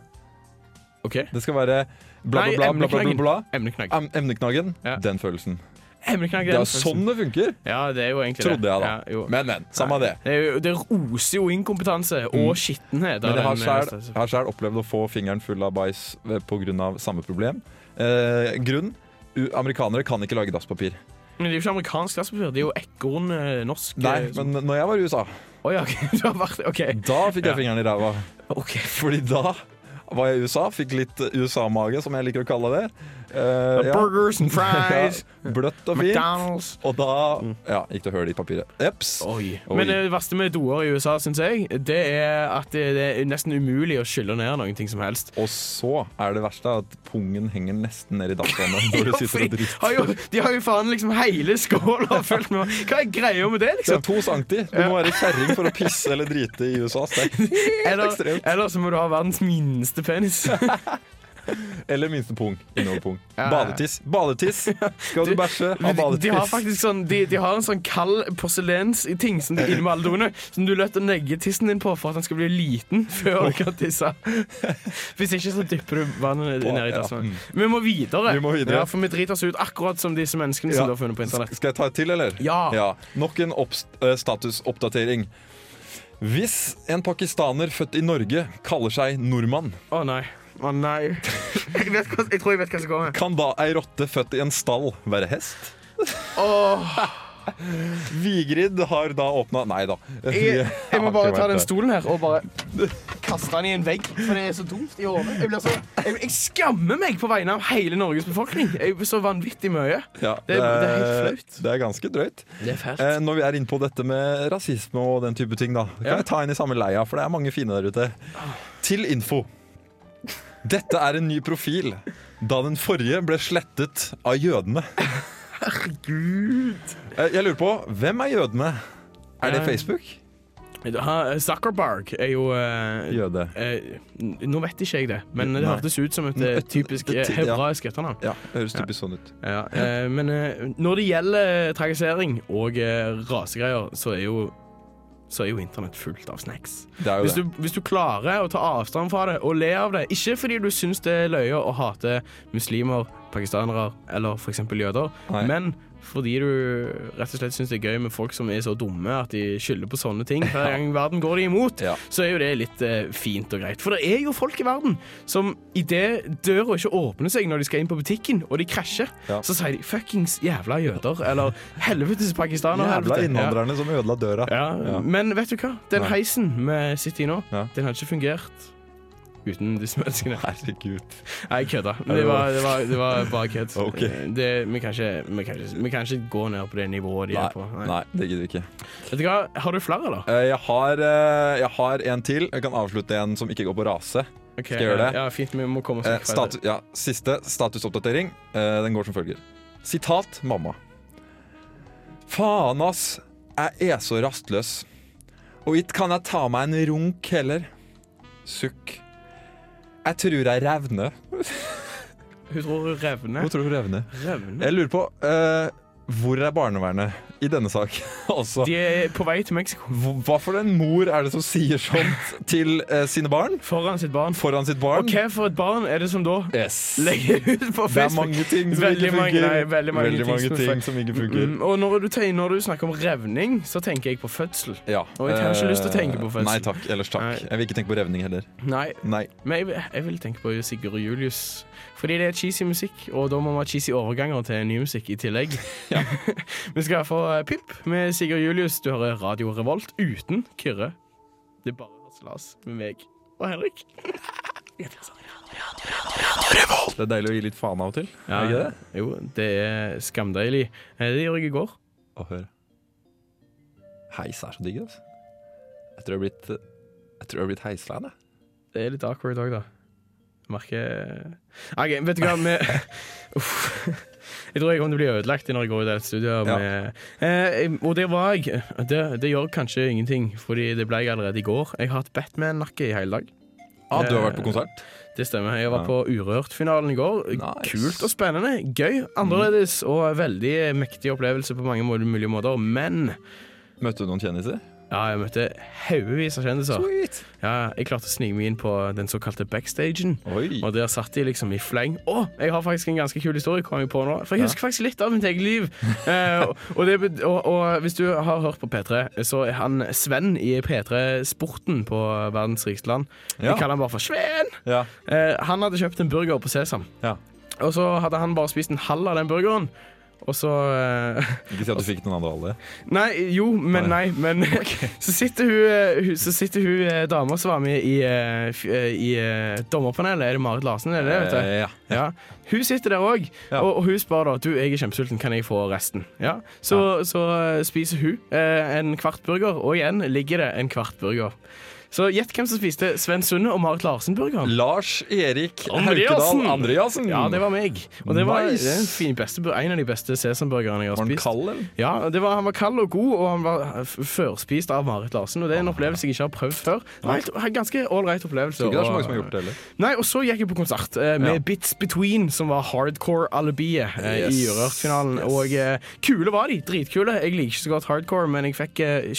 Speaker 6: Ok.
Speaker 5: Det skal være bla,
Speaker 6: Nei,
Speaker 5: bla, bla, bla, bla, bla, bla.
Speaker 6: Emneknagg.
Speaker 5: Em- Emneknaggen.
Speaker 6: Ja.
Speaker 5: Den følelsen.
Speaker 6: Emneknagg
Speaker 5: Det
Speaker 6: den
Speaker 5: er
Speaker 6: følelsen.
Speaker 5: sånn det funker,
Speaker 6: Ja, det er jo egentlig
Speaker 5: trodde
Speaker 6: det.
Speaker 5: jeg da.
Speaker 6: Ja, jo.
Speaker 5: Men, men. Samme det. Mm.
Speaker 6: Det, er jo, det roser jo inkompetanse og skittenhet. av
Speaker 5: Men jeg har
Speaker 6: den eh,
Speaker 5: selv-
Speaker 6: neste-
Speaker 5: jeg har sjøl opplevd å få fingeren full av bæsj pga. samme problem. Eh, grunn u- amerikanere kan ikke lage dasspapir.
Speaker 6: Men det er jo ikke amerikansk glassbefyr, det er jo ekorn eh, norsk.
Speaker 5: Nei,
Speaker 6: eh, som-
Speaker 5: men når jeg var i USA,
Speaker 6: Å ja, (laughs) ok, du har vært OK.
Speaker 5: da fikk jeg
Speaker 6: Ja.
Speaker 5: fingeren i ræva.
Speaker 6: Ok.
Speaker 5: Fordi da var jeg i USA, fikk litt USA-mage, som jeg liker å kalle det. Eh, ja.
Speaker 6: Burgers and fries,
Speaker 5: (laughs) Ja, Bløtt og fint.
Speaker 6: McDonald's Mm.
Speaker 5: Og da ja, gikk det hull i papiret. Eps.
Speaker 6: Oi.
Speaker 5: Oi.
Speaker 6: Men eh, det verste med doer i USA, syns jeg, det er at det, det er nesten umulig å skylle ned noen ting som helst.
Speaker 5: Og så er det verste at pungen henger nesten
Speaker 6: (laughs)
Speaker 5: ned i dassvannet når du
Speaker 6: Ja, for
Speaker 5: sitter og
Speaker 6: de,
Speaker 5: driter.
Speaker 6: har jo, de har jo faen liksom hele skåla fullt med Hva er greia med det,
Speaker 5: Det
Speaker 6: liksom?
Speaker 5: er to sankti. Du må være kjerring for å pisse eller drite i USA. så det er
Speaker 6: (laughs)
Speaker 5: helt
Speaker 6: Eller,
Speaker 5: ekstremt.
Speaker 6: eller så må du ha verdens minste penis.
Speaker 5: Eller minste pung. Innover pung.
Speaker 6: ja.
Speaker 5: Badetiss. Badetiss!
Speaker 6: (laughs)
Speaker 5: Skal du bæsje, ha
Speaker 6: Men De, de har
Speaker 5: badetiss.
Speaker 6: faktisk sånn De, de har en sånn kald porselensting
Speaker 5: (laughs)
Speaker 6: som de er inne med alle doene, som du er nødt til å legge tissen din på for at den skal bli liten (laughs) før du kan tisse.
Speaker 5: (laughs)
Speaker 6: Hvis ikke så dypper du vannet
Speaker 5: På-
Speaker 6: ned i
Speaker 5: ja, Mm.
Speaker 6: dassen. Vi må videre,
Speaker 5: Vi må videre.
Speaker 6: Ja, for vi driter oss ut akkurat som disse menneskene
Speaker 5: Ja.
Speaker 6: som du har funnet på internett.
Speaker 5: Skal jeg ta et til, eller?
Speaker 6: Ja.
Speaker 5: Ja, Nok en opps- eh, statusoppdatering. Hvis en pakistaner født i Norge kaller seg nordmann,
Speaker 6: Å nei. Å nei.
Speaker 5: (laughs)
Speaker 6: Jeg, vet hva, jeg tror jeg vet hva som kommer.
Speaker 5: kan da ei rotte født i en stall være hest?
Speaker 6: Åh,
Speaker 5: (laughs) Vigrid har da åpna Nei da.
Speaker 6: jeg,
Speaker 5: (laughs)
Speaker 6: jeg må
Speaker 5: har
Speaker 6: bare
Speaker 5: ikke
Speaker 6: ta
Speaker 5: vært
Speaker 6: den
Speaker 5: der.
Speaker 6: stolen her og bare kaste den i en vegg, for det er så dumt i hodet. Jeg, blir så- jeg, jeg skammer meg på vegne av hele Norges befolkning. Jeg blir så vanvittig mye.
Speaker 5: Ja,
Speaker 6: Det er- det er helt flaut.
Speaker 5: Det er ganske drøyt.
Speaker 6: Det er fælt.
Speaker 5: Eh, når vi er inne på dette med rasisme og den type ting, da, kan
Speaker 6: Ja.
Speaker 5: jeg ta inn i samme leia, for det er mange fine der ute. Til info. Dette er en ny profil, da den forrige ble slettet av jødene. Eh, Herregud. Jeg lurer på, hvem er jødene? Er det
Speaker 6: Ja.
Speaker 5: Facebook?
Speaker 6: Ha, Zuckerberg er jo eh,
Speaker 5: Jøde.
Speaker 6: eh, n- nå vet ikke jeg det, men det
Speaker 5: Nei.
Speaker 6: hørtes ut som et eh,
Speaker 5: (laughs) Et-
Speaker 6: typisk
Speaker 5: et-
Speaker 6: eh,
Speaker 5: ja.
Speaker 6: hebraisk etternavn.
Speaker 5: Ja, høres typisk sånn ut.
Speaker 6: Ja, eh, men eh, når det gjelder trakassering og eh, rasegreier, så er jo så er jo internett fullt av snacks.
Speaker 5: Det er jo
Speaker 6: hvis,
Speaker 5: det.
Speaker 6: du, hvis du klarer å ta avstand fra det og le av det, ikke fordi du syns det er løye å hate muslimer, pakistanere eller f.eks. jøder, men fordi du rett og slett syns det er gøy med folk som er så dumme at de skylder på sånne ting
Speaker 5: (laughs)
Speaker 6: hver gang verden går de imot, så er jo det litt eh, fint og greit. For det er jo folk i verden som idet døra ikke åpner seg når de skal inn på butikken, og de krasjer, så sier de 'fuckings jævla jøder' eller 'helvetes pakistanere'.
Speaker 5: Jævla
Speaker 6: helvete». Ja.
Speaker 5: innvandrerne som ødela døra.
Speaker 6: Ja, Men vet du hva? Den
Speaker 5: Nei.
Speaker 6: heisen vi sitter i nå, den hadde ikke fungert uten disse menneskene.
Speaker 5: Herregud.
Speaker 6: Nei, jeg kødda.
Speaker 5: Ja,
Speaker 6: Det
Speaker 5: det var-
Speaker 6: var, det var, det var bare kødd.
Speaker 5: (laughs) Ok.
Speaker 6: Det, vi, kan ikke, vi, kan ikke, vi kan ikke gå ned på det nivået de
Speaker 5: Nei,
Speaker 6: er på.
Speaker 5: nei, det gidder vi ikke.
Speaker 6: Vet du hva? Har du flere, eller?
Speaker 5: Eh, Jeg har, eh, jeg har en til. Jeg kan avslutte en som ikke går på rase.
Speaker 6: Ok,
Speaker 5: Skal jeg gjøre det?
Speaker 6: Ja, fint. Vi må komme oss
Speaker 5: Eh,
Speaker 6: vekk fra
Speaker 5: statu
Speaker 6: det.
Speaker 5: ja, siste statusoppdatering. Eh, den går som følger. Sitat mamma. Faen, ass. Jeg er så rastløs. Og ikke kan jeg ta meg en runk heller. Sukk. Jeg tror jeg revner.
Speaker 6: Hun tror hun revner.
Speaker 5: Hun tror hun revner.
Speaker 6: Revner?
Speaker 5: Jeg lurer på eh, Hvor er barnevernet i denne sak (laughs) også?
Speaker 6: De er på vei til Mexico.
Speaker 5: Hva for en mor er det som sier sånt til eh, sine barn?
Speaker 6: Foran sitt barn.
Speaker 5: Foran sitt barn.
Speaker 6: Og hva for et barn er det som da
Speaker 5: Yes.
Speaker 6: legger ut på Facebook?
Speaker 5: Det er mange ting som
Speaker 6: veldig
Speaker 5: ikke
Speaker 6: mange,
Speaker 5: fungerer.
Speaker 6: nei, veldig mange,
Speaker 5: Veldig mange
Speaker 6: er
Speaker 5: ting
Speaker 6: feil.
Speaker 5: som ikke fungerer.
Speaker 6: Mm, og når du, tenker, når du snakker om revning, så tenker jeg på fødsel.
Speaker 5: Ja.
Speaker 6: Og jeg har ikke
Speaker 5: eh,
Speaker 6: lyst til å tenke på fødsel.
Speaker 5: Nei takk. Ellers takk. Jeg vil ikke tenke på revning heller.
Speaker 6: Nei.
Speaker 5: Nei.
Speaker 6: Men jeg, vil- jeg vil tenke på Sigurd og Julius. Fordi det er cheesy musikk, og da må vi ha cheesy overganger til ny musikk i tillegg. (laughs) vi skal få eh, Pimp med Sigurd Julius. Du hører Radio Revolt uten Kyrre. Det er bare Hasselas med meg og Henrik.
Speaker 5: Det er deilig å gi litt faen av og til. Er
Speaker 6: Ja,
Speaker 5: det ikke det?
Speaker 6: Jo, det er skamdeilig. Eh, Det gjorde jeg i går.
Speaker 5: Å høre. Heis er så digg, altså. Jeg tror jeg har blitt eh, Jeg tror jeg har blitt heisland, jeg.
Speaker 6: Det er litt awkward òg, da. Merker eh, OK, vet du hva, vi Uff. Jeg tror jeg kommer til å bli ødelagt når jeg går ut av dette studioet. med- Eh, og det var jeg. Det, det gjør kanskje ingenting, Fordi det ble jeg allerede i går. Jeg har hatt Batman-nakke i hele dag.
Speaker 5: Ah, du har vært på
Speaker 6: Eh.
Speaker 5: konsert?
Speaker 6: Det stemmer. Jeg var
Speaker 5: Ja.
Speaker 6: på Urørt-finalen i går. Kult og spennende. Gøy, annerledes og veldig mektig opplevelse på mange må- mulige måter. Men
Speaker 5: Møtte du noen kjendiser?
Speaker 6: Ja, jeg møtte haugevis av kjendiser. Ja, jeg klarte å snike meg inn på den såkalte backstagen. Og der satt de liksom i fleng. Å, jeg har faktisk en ganske kul historie, kom jeg på nå. For jeg husker faktisk litt av mitt eget liv. Eh, og, det, bet- og, og hvis du har hørt på P3, så er han Sven i P3-sporten på verdens rikeste land. Vi
Speaker 5: Ja.
Speaker 6: kaller han bare for Sven.
Speaker 5: Ja.
Speaker 6: Eh, han hadde kjøpt en burger på Sesam. Og så hadde han bare spist en halv av den burgeren. Og så eh, (laughs)
Speaker 5: Ikke si at du fikk noen andre alle.
Speaker 6: Nei, jo, men nei. men (laughs) så sitter hun, eh, hun, så sitter hun eh, dama som var med i, eh, f- eh, i eh, dommerpanelet. Er det Marit Larsen? Er det det, vet du?
Speaker 5: Eh, ja.
Speaker 6: Hun sitter der òg, og, og hun spør da Du, jeg er kjempesulten, kan jeg få resten? Ja. Så, så eh, spiser hun eh, en kvart burger, og igjen ligger det en kvart burger. Så gjett hvem som spiste Sven Sunde og Marit Larsen-burgeren.
Speaker 5: Lars Erik
Speaker 6: Andreassen!
Speaker 5: Haukedal Andreassen.
Speaker 6: Ja, det var meg. Og det var
Speaker 5: Nice.
Speaker 6: det er en, fin, beste, bur- en av de beste sesamburgerne jeg har
Speaker 5: Var den
Speaker 6: spist.
Speaker 5: kald, eller?
Speaker 6: Ja, det var, han var kald og god, og han var eh, f- førspist av Marit Larsen. Og Det er en opplevelse jeg ikke har prøvd før. Det var helt- en ganske ålreit opplevelse.
Speaker 5: Tror ikke det er så
Speaker 6: og-
Speaker 5: mange som har gjort det heller.
Speaker 6: Nei, og så gikk jeg på konsert eh, med Bits Between, som var hardcore-alibiet eh, i
Speaker 5: Yes.
Speaker 6: Urørt-finalen. Og eh, kule var de, dritkule. Jeg liker ikke så godt hardcore, men jeg fikk eh,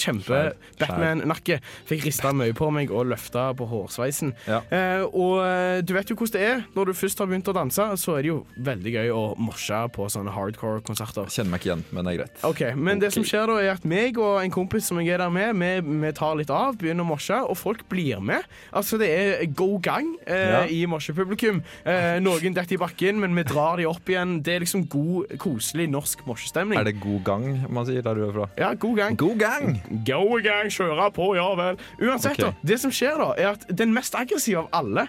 Speaker 6: kjempe-Batman-nakke. Fikk rista mye på meg og løfta på hårsveisen. Eh, og eh, du vet jo hvordan det er. Når du først har begynt å danse, så er det jo veldig gøy å morse på sånne hardcore-konserter.
Speaker 5: Kjenner meg ikke igjen, men det er greit.
Speaker 6: Ok, Men det som skjer da, er at meg og en kompis som jeg er der med, vi, vi tar litt av, begynner å morse, og folk blir med. Altså, det er go gang eh,
Speaker 5: Ja.
Speaker 6: i morsepublikum. Eh, noen detter i bakken, men vi drar de opp igjen. Det er liksom god, koselig norsk morsestemning.
Speaker 5: Er det god gang man sier der du er fra?
Speaker 6: Ja, god gang.
Speaker 5: God gang!
Speaker 6: God gang, kjøre på, ja vel. Uansett,
Speaker 5: Ok.
Speaker 6: altså, det som skjer da, er at den mest aggressive av alle,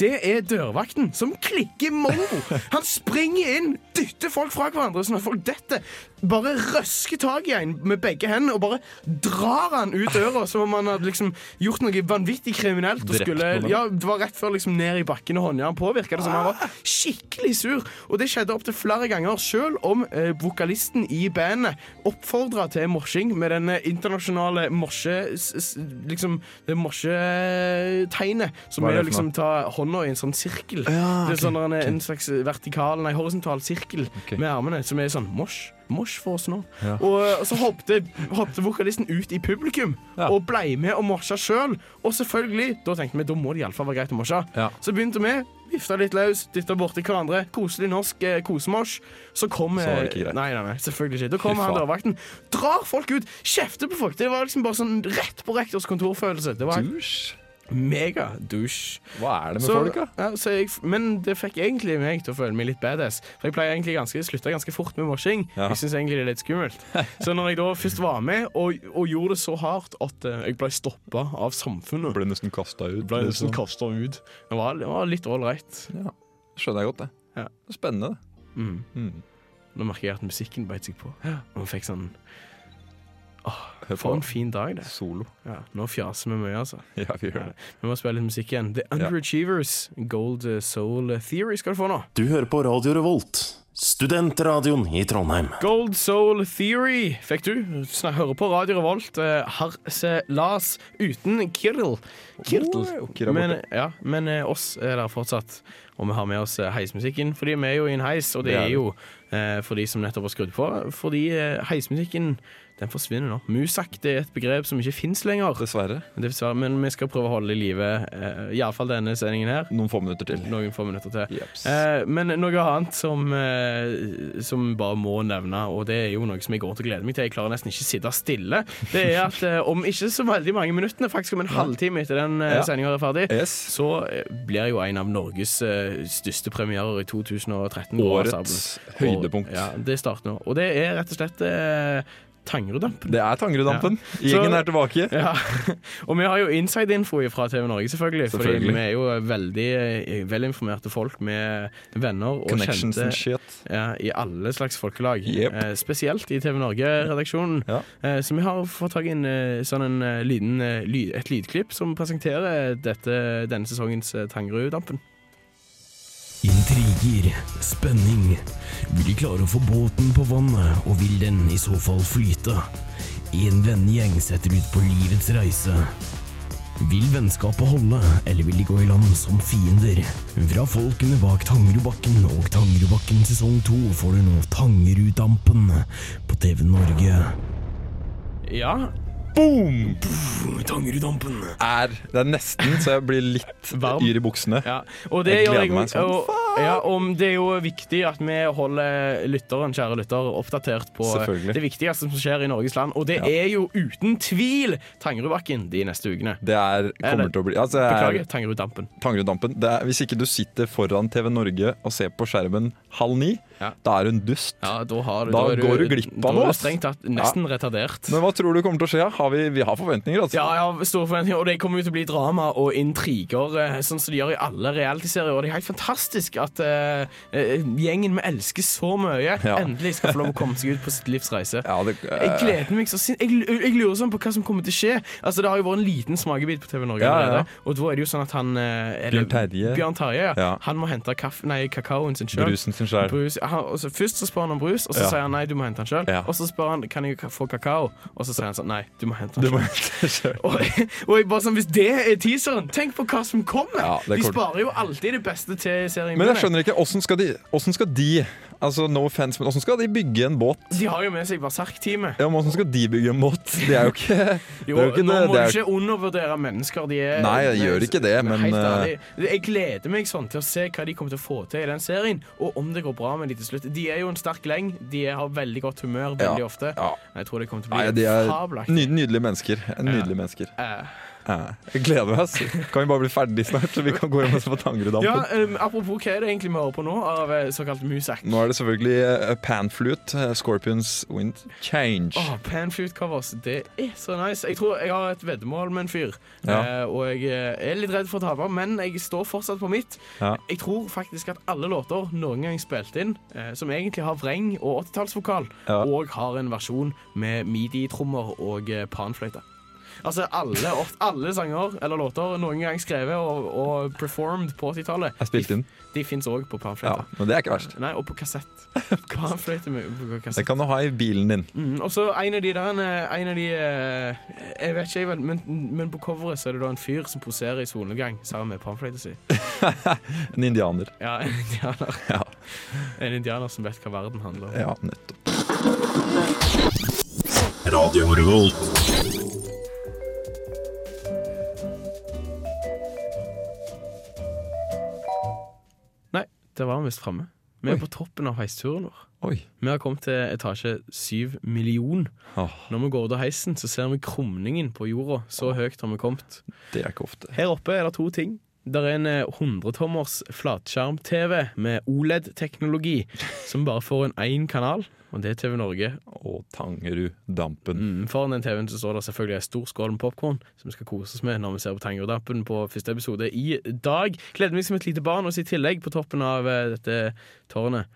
Speaker 6: det er dørvakten, som klikker mongo. Han springer inn, dytter folk fra hverandre, sånn at folk detter. Bare røsker tak i en med begge hendene og bare drar han ut døra, som om han hadde liksom gjort noe vanvittig kriminelt. Og
Speaker 12: Drept
Speaker 6: skulle,
Speaker 12: noen.
Speaker 6: ja, det var rett før liksom ned i bakken og håndjern på, virka det som.
Speaker 12: Ah.
Speaker 6: Han var skikkelig sur. Og det skjedde opptil flere ganger, sjøl om eh, vokalisten i bandet oppfordra til morsing med den eh, internasjonale morse... s- s- Liksom det morsetegnet, som
Speaker 12: Hva er det
Speaker 6: er å
Speaker 12: for
Speaker 6: liksom
Speaker 12: noe?
Speaker 6: ta hånda i en sånn sirkel.
Speaker 12: Ja,
Speaker 6: det er sånn
Speaker 12: ok,
Speaker 6: en,
Speaker 12: ok.
Speaker 6: en slags vertikal, nei, horisontal sirkel med armene, som er sånn mosj. Mosj for oss nå.
Speaker 12: Ja.
Speaker 6: Og, og så hoppte, hoppte vokalisten ut i publikum og blei med og morsja sjøl. Og selvfølgelig, da tenkte vi da må det iallfall være greit å morsje. Så begynte vi, vifta litt løs, dytta borti hverandre. Koselig norsk eh, kosemosj. Så kom
Speaker 12: Så var det
Speaker 6: eh,
Speaker 12: ikke greit.
Speaker 6: Nei, nei, nei, selvfølgelig ikke. Da kom
Speaker 12: Fy
Speaker 6: han
Speaker 12: faen.
Speaker 6: dørvakten, drar folk ut, kjefter på folk. Det var liksom bare sånn rett på rektors kontorfølelse. Det var Mega douche.
Speaker 5: Hva er det med
Speaker 6: Så-
Speaker 5: folk, da?
Speaker 6: Ja, så jeg, men det fikk egentlig meg til å føle meg litt badass. For jeg pleier egentlig ganske, slutta ganske fort med morsing.
Speaker 12: Ja.
Speaker 6: Jeg syns egentlig det er litt skummelt. Så når jeg da først var med, og, og gjorde det så hardt at eh, jeg ble stoppa av samfunnet
Speaker 5: Ble nesten kasta ut.
Speaker 6: Ble nesten
Speaker 5: liksom.
Speaker 6: kastet ut. Det var, det var litt ålreit.
Speaker 5: Ja. Skjønner jeg godt, det. Spennende,
Speaker 6: det. Mm. Nå merker jeg at musikken beit seg på. Og fikk sånn Åh, For en fin dag, det.
Speaker 5: Solo.
Speaker 6: Ja, nå fjaser vi mye, altså.
Speaker 5: Ja, Vi gjør det.
Speaker 6: Vi må spille litt musikk igjen. The Underachievers, Gold eh, Soul Theory skal du få nå.
Speaker 13: Du hører på Radio Revolt, studentradioen i Trondheim.
Speaker 6: Gold Soul Theory fikk du. Snak, hører på Radio Revolt. eh, Harselas uten Kirl.
Speaker 12: Wow, Kirl er borte.
Speaker 6: Men, ja, men eh, oss er der fortsatt. Og vi har med oss eh, heismusikken, fordi vi er jo i en heis. Og det
Speaker 12: Det er
Speaker 6: er jo, eh, for de som nettopp har skrudd på, fordi eh, heismusikken den forsvinner nå. Musak det er et begrep som ikke fins lenger.
Speaker 5: Dessverre.
Speaker 6: Dessverre. Men vi skal prøve å holde det i live, eh, iallfall denne sendingen her.
Speaker 5: Noen få minutter til.
Speaker 6: Noen få minutter til. Eh, men noe annet som, eh, som bare må nevne, og det er jo noe som jeg går rundt og gleder meg til, jeg klarer nesten ikke sitte stille, det er at eh, om ikke så veldig mange minuttene, faktisk om en halvtime etter den eh,
Speaker 12: Ja.
Speaker 6: sendinga er ferdig, så eh, blir jo en av Norges eh, største premierer i 2013.
Speaker 5: Årets
Speaker 6: Rasabelen.
Speaker 5: høydepunkt.
Speaker 6: Og, ja, det starter nå. Og det er rett og slett eh, Tangerudampen.
Speaker 5: Det er Tangerudampen. Gjengen er tilbake.
Speaker 6: Ja. (laughs) Og vi har jo inside-info fra TV Norge, selvfølgelig.
Speaker 5: Selvfølgelig.
Speaker 6: Fordi vi er jo veldig eh, velinformerte folk med venner og
Speaker 5: Connections
Speaker 6: kjente
Speaker 5: and shit.
Speaker 6: Ja, i alle slags folkelag.
Speaker 5: Jep.
Speaker 6: Eh, spesielt i TV Norge-redaksjonen. Eh, så vi har fått tak i en, eh, sånn en eh, liten, eh, ly- et lydklipp som presenterer dette, denne sesongens eh, Tangerud-dampen.
Speaker 14: Intriger, spenning. Vil de klare å få båten på vannet, og vil den i så fall flyte? En vennegjeng setter ut på livets reise. Vil vennskapet holde, eller vil de gå i land som fiender? Fra folkene bak Tangerudbakken og Tangerudbakken sesong to får du nå Tangeruddampen på TV Norge.
Speaker 6: Ja.
Speaker 5: Boom!
Speaker 14: Tangeruddampen.
Speaker 5: Er, det er nesten så jeg blir litt yr i buksene.
Speaker 6: Og det
Speaker 5: jeg
Speaker 6: gjør
Speaker 5: gleder
Speaker 6: jeg,
Speaker 5: meg sånn.
Speaker 6: og, ja, og det er jo viktig at vi holder lytteren, kjære lytter, oppdatert på
Speaker 5: Selvfølgelig.
Speaker 6: det viktigste som skjer i Norges land. Og det
Speaker 5: Ja.
Speaker 6: er jo uten tvil Tangerudbakken de neste ukene.
Speaker 5: Det er, kommer
Speaker 6: Eller,
Speaker 5: til å bli altså, jeg er-
Speaker 6: Beklager, Tangeruddampen.
Speaker 5: Tangeruddampen. Det er, hvis ikke du sitter foran TV Norge og ser på skjermen halv ni, da er du en dust.
Speaker 6: da
Speaker 5: da
Speaker 6: da er du-
Speaker 5: går du glipp
Speaker 6: da er
Speaker 5: av noe.
Speaker 6: du
Speaker 5: ass.
Speaker 6: strengt tatt nesten retardert.
Speaker 5: Men hva tror du kommer til å skje? Har vi, vi har forventninger, altså. (laughs)
Speaker 6: Ja, jeg har store forventninger, og det kommer jo til å bli drama og intriger, eh, sånn som de gjør i alle realityserier. Og det er helt fantastisk at eh, eh, gjengen vi elsker så mye,
Speaker 12: Ja.
Speaker 6: endelig skal få lov å komme seg ut på sitt livs reise. Jeg
Speaker 12: eh.
Speaker 6: gleder meg så sin... jeg, lu- jeg lurer sånn på hva som kommer til å skje. Altså, Det har jo vært en liten smakebit på TV Norge
Speaker 5: Ja, ja, ja.
Speaker 6: allerede, og da er det jo sånn at han eh, er det-
Speaker 5: Bjørn Terje.
Speaker 6: Bjørn Terje, ja.
Speaker 5: Ja.
Speaker 6: Han må hente kaffe, nei, kakaoen sin sjøl.
Speaker 5: Brusen sin selv.
Speaker 6: Brus, han, og så først så spør han om brus, og så
Speaker 5: Ja.
Speaker 6: sier han nei, du må hente den sjøl. Og så spør han kan jeg ka- få kakao, og så sier han sånn nei, du må hente den
Speaker 5: Du må
Speaker 6: selv." og, og jeg bare sånn, Hvis det er teaseren, tenk på hva som kommer!
Speaker 5: Ja, det er
Speaker 6: De
Speaker 5: kort.
Speaker 6: sparer jo alltid det beste til serien.
Speaker 5: Men jeg skjønner ikke, åssen skal de, hvordan skal de Altså, No offense, men åssen skal de bygge en båt?
Speaker 6: De har jo med seg Berserk-teamet.
Speaker 5: Ja, men Åssen skal de bygge en båt? Det er jo
Speaker 6: (laughs)
Speaker 5: ikke
Speaker 6: Jo,
Speaker 5: det er jo ikke
Speaker 6: nå
Speaker 5: det-
Speaker 6: må
Speaker 5: det er
Speaker 6: du
Speaker 5: jo
Speaker 6: ikke undervurdere mennesker. De er,
Speaker 5: Nei, jeg gjør ikke det, men,
Speaker 6: Helt
Speaker 5: eh,
Speaker 6: ærlig. Jeg gleder meg sånn til å se hva de kommer til å få til i den serien, og om det går bra med de til slutt. De er jo en sterk gjeng. De er- har veldig godt humør
Speaker 5: Ja,
Speaker 6: veldig ofte. Jeg tror det kommer til å
Speaker 5: Nei,
Speaker 6: bli
Speaker 5: de er
Speaker 6: fabelaktig.
Speaker 5: ny, nydelige mennesker. Nydelige mennesker.
Speaker 6: Eh,
Speaker 5: Jeg gleder meg. ass. Kan vi bare bli ferdig snart, så vi kan gå hjem og se på Tangerudampen?
Speaker 6: Ja, eh, apropos, hva er det egentlig vi hører på nå av eh, såkalt musak?
Speaker 5: Nå er det selvfølgelig eh, Panflute, eh, Scorpions Wind Change.
Speaker 6: Åh, Panflute covers, det er så nice. Jeg tror jeg har et veddemål med en fyr,
Speaker 5: Ja.
Speaker 6: eh, og jeg eh, er litt redd for å tape, men jeg står fortsatt på mitt.
Speaker 5: Ja.
Speaker 6: Jeg tror faktisk at alle låter noen gang spilt inn, eh, som egentlig har vreng og 80-tallsvokal,
Speaker 5: Ja.
Speaker 6: og har en versjon med midi-trommer og eh, panfløyte. Altså alle, alle sanger eller låter noen gang skrevet og, og performed på 80-tallet,
Speaker 5: Jeg spilte inn.
Speaker 6: de fins òg på
Speaker 5: Ja,
Speaker 6: panfløyte.
Speaker 5: men det er ikke verst.
Speaker 6: Nei, og på
Speaker 5: (laughs)
Speaker 6: kassett. Panfløyte med- på kassett.
Speaker 5: Det kan du ha i bilen din.
Speaker 6: Mm, og så en av de der eh, En av de eh, Jeg vet ikke, jeg vel, men, men på coveret så er det da en fyr som poserer i solnedgang sammen med panfløyta si.
Speaker 5: En indianer.
Speaker 6: Ja, en indianer. En indianer som vet hva verden handler om.
Speaker 5: Ja, nettopp.
Speaker 13: Radio Revolt.
Speaker 6: Nei, der var vi visst framme. Vi er på toppen av heisturen vår. Vi har kommet til etasje syv million. Når vi går ut av heisen, så ser vi krumningen på jorda. Så høyt har vi kommet.
Speaker 5: Det er ikke ofte.
Speaker 6: Her oppe er det to ting. Der er en eh, 100-tommers flatskjerm-TV med OLED-teknologi, som bare får en én kanal, og det er TV Norge.
Speaker 5: Og Tangerud-dampen.
Speaker 6: Mm, foran den TV-en så står det selvfølgelig en stor skål med popkorn, som vi skal kose oss med når vi ser på Tangerudampen på første episode i dag. Gleder meg som et lite barn, og så i tillegg på toppen av eh, dette tårnet,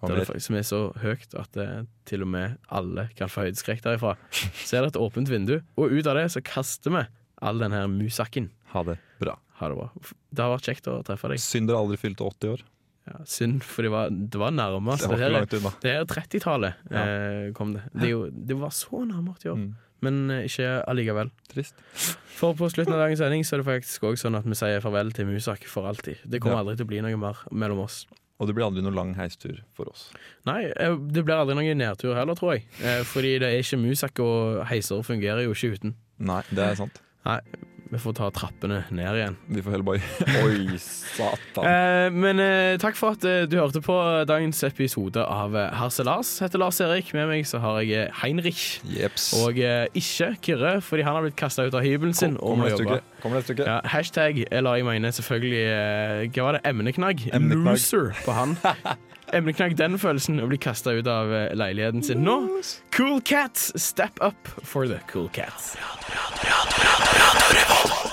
Speaker 5: Hva
Speaker 6: der det
Speaker 5: mer?
Speaker 6: faktisk- som er så høyt at eh, til og med alle kan få
Speaker 5: (laughs)
Speaker 6: høydeskrekk derifra, så er det et åpent vindu, og ut av det så kaster vi all den her musakken.
Speaker 5: Ha det bra.
Speaker 6: Ha det bra. Det har vært kjekt å treffe deg.
Speaker 5: Synd dere aldri fylte 80 år.
Speaker 6: Ja, synd, for det var, det var nærmest.
Speaker 5: Det var ikke
Speaker 6: her er-
Speaker 5: langt unna.
Speaker 6: Det her er 30-tallet eh, kom det. Det, er jo, det var så nærme 80
Speaker 5: Mm.
Speaker 6: år, men eh, ikke allikevel.
Speaker 5: Trist.
Speaker 6: For på slutten av dagens sending så er det faktisk også sånn at vi sier farvel til Musak for alltid. Det kommer
Speaker 5: Ja.
Speaker 6: aldri til å bli noe mer mellom oss.
Speaker 5: Og det blir aldri noen lang heistur for oss.
Speaker 6: Nei, eh, det blir aldri noen nedtur heller, tror jeg. Eh, fordi det er ikke Musak, og heiser fungerer jo ikke uten.
Speaker 5: Nei, det er sant.
Speaker 6: Nei, vi får ta trappene ned igjen.
Speaker 5: Vi får heller bare Oi, satan.
Speaker 6: Eh, men eh, takk for at eh, du hørte på dagens episode av eh, Harselas. Heter Lars Erik. Med meg så har jeg eh, Heinrich.
Speaker 5: Jeps.
Speaker 6: Og eh, ikke Kyrre, fordi han har blitt kasta ut av hybelen sin. og
Speaker 5: Kommer
Speaker 6: må
Speaker 5: neste
Speaker 6: jobbe.
Speaker 5: uke. Kommer neste uke.
Speaker 6: Ja, hashtag, eller jeg mener selvfølgelig eh, Hva var det? Emneknagg?
Speaker 5: Emneknagg.
Speaker 6: Loser på han. Emneknagg den følelsen å bli kasta ut av eh, leiligheten sin nå. Cool Cats, step up for the cool cats. Radio, radio, radio, radio, radio, radio, radio.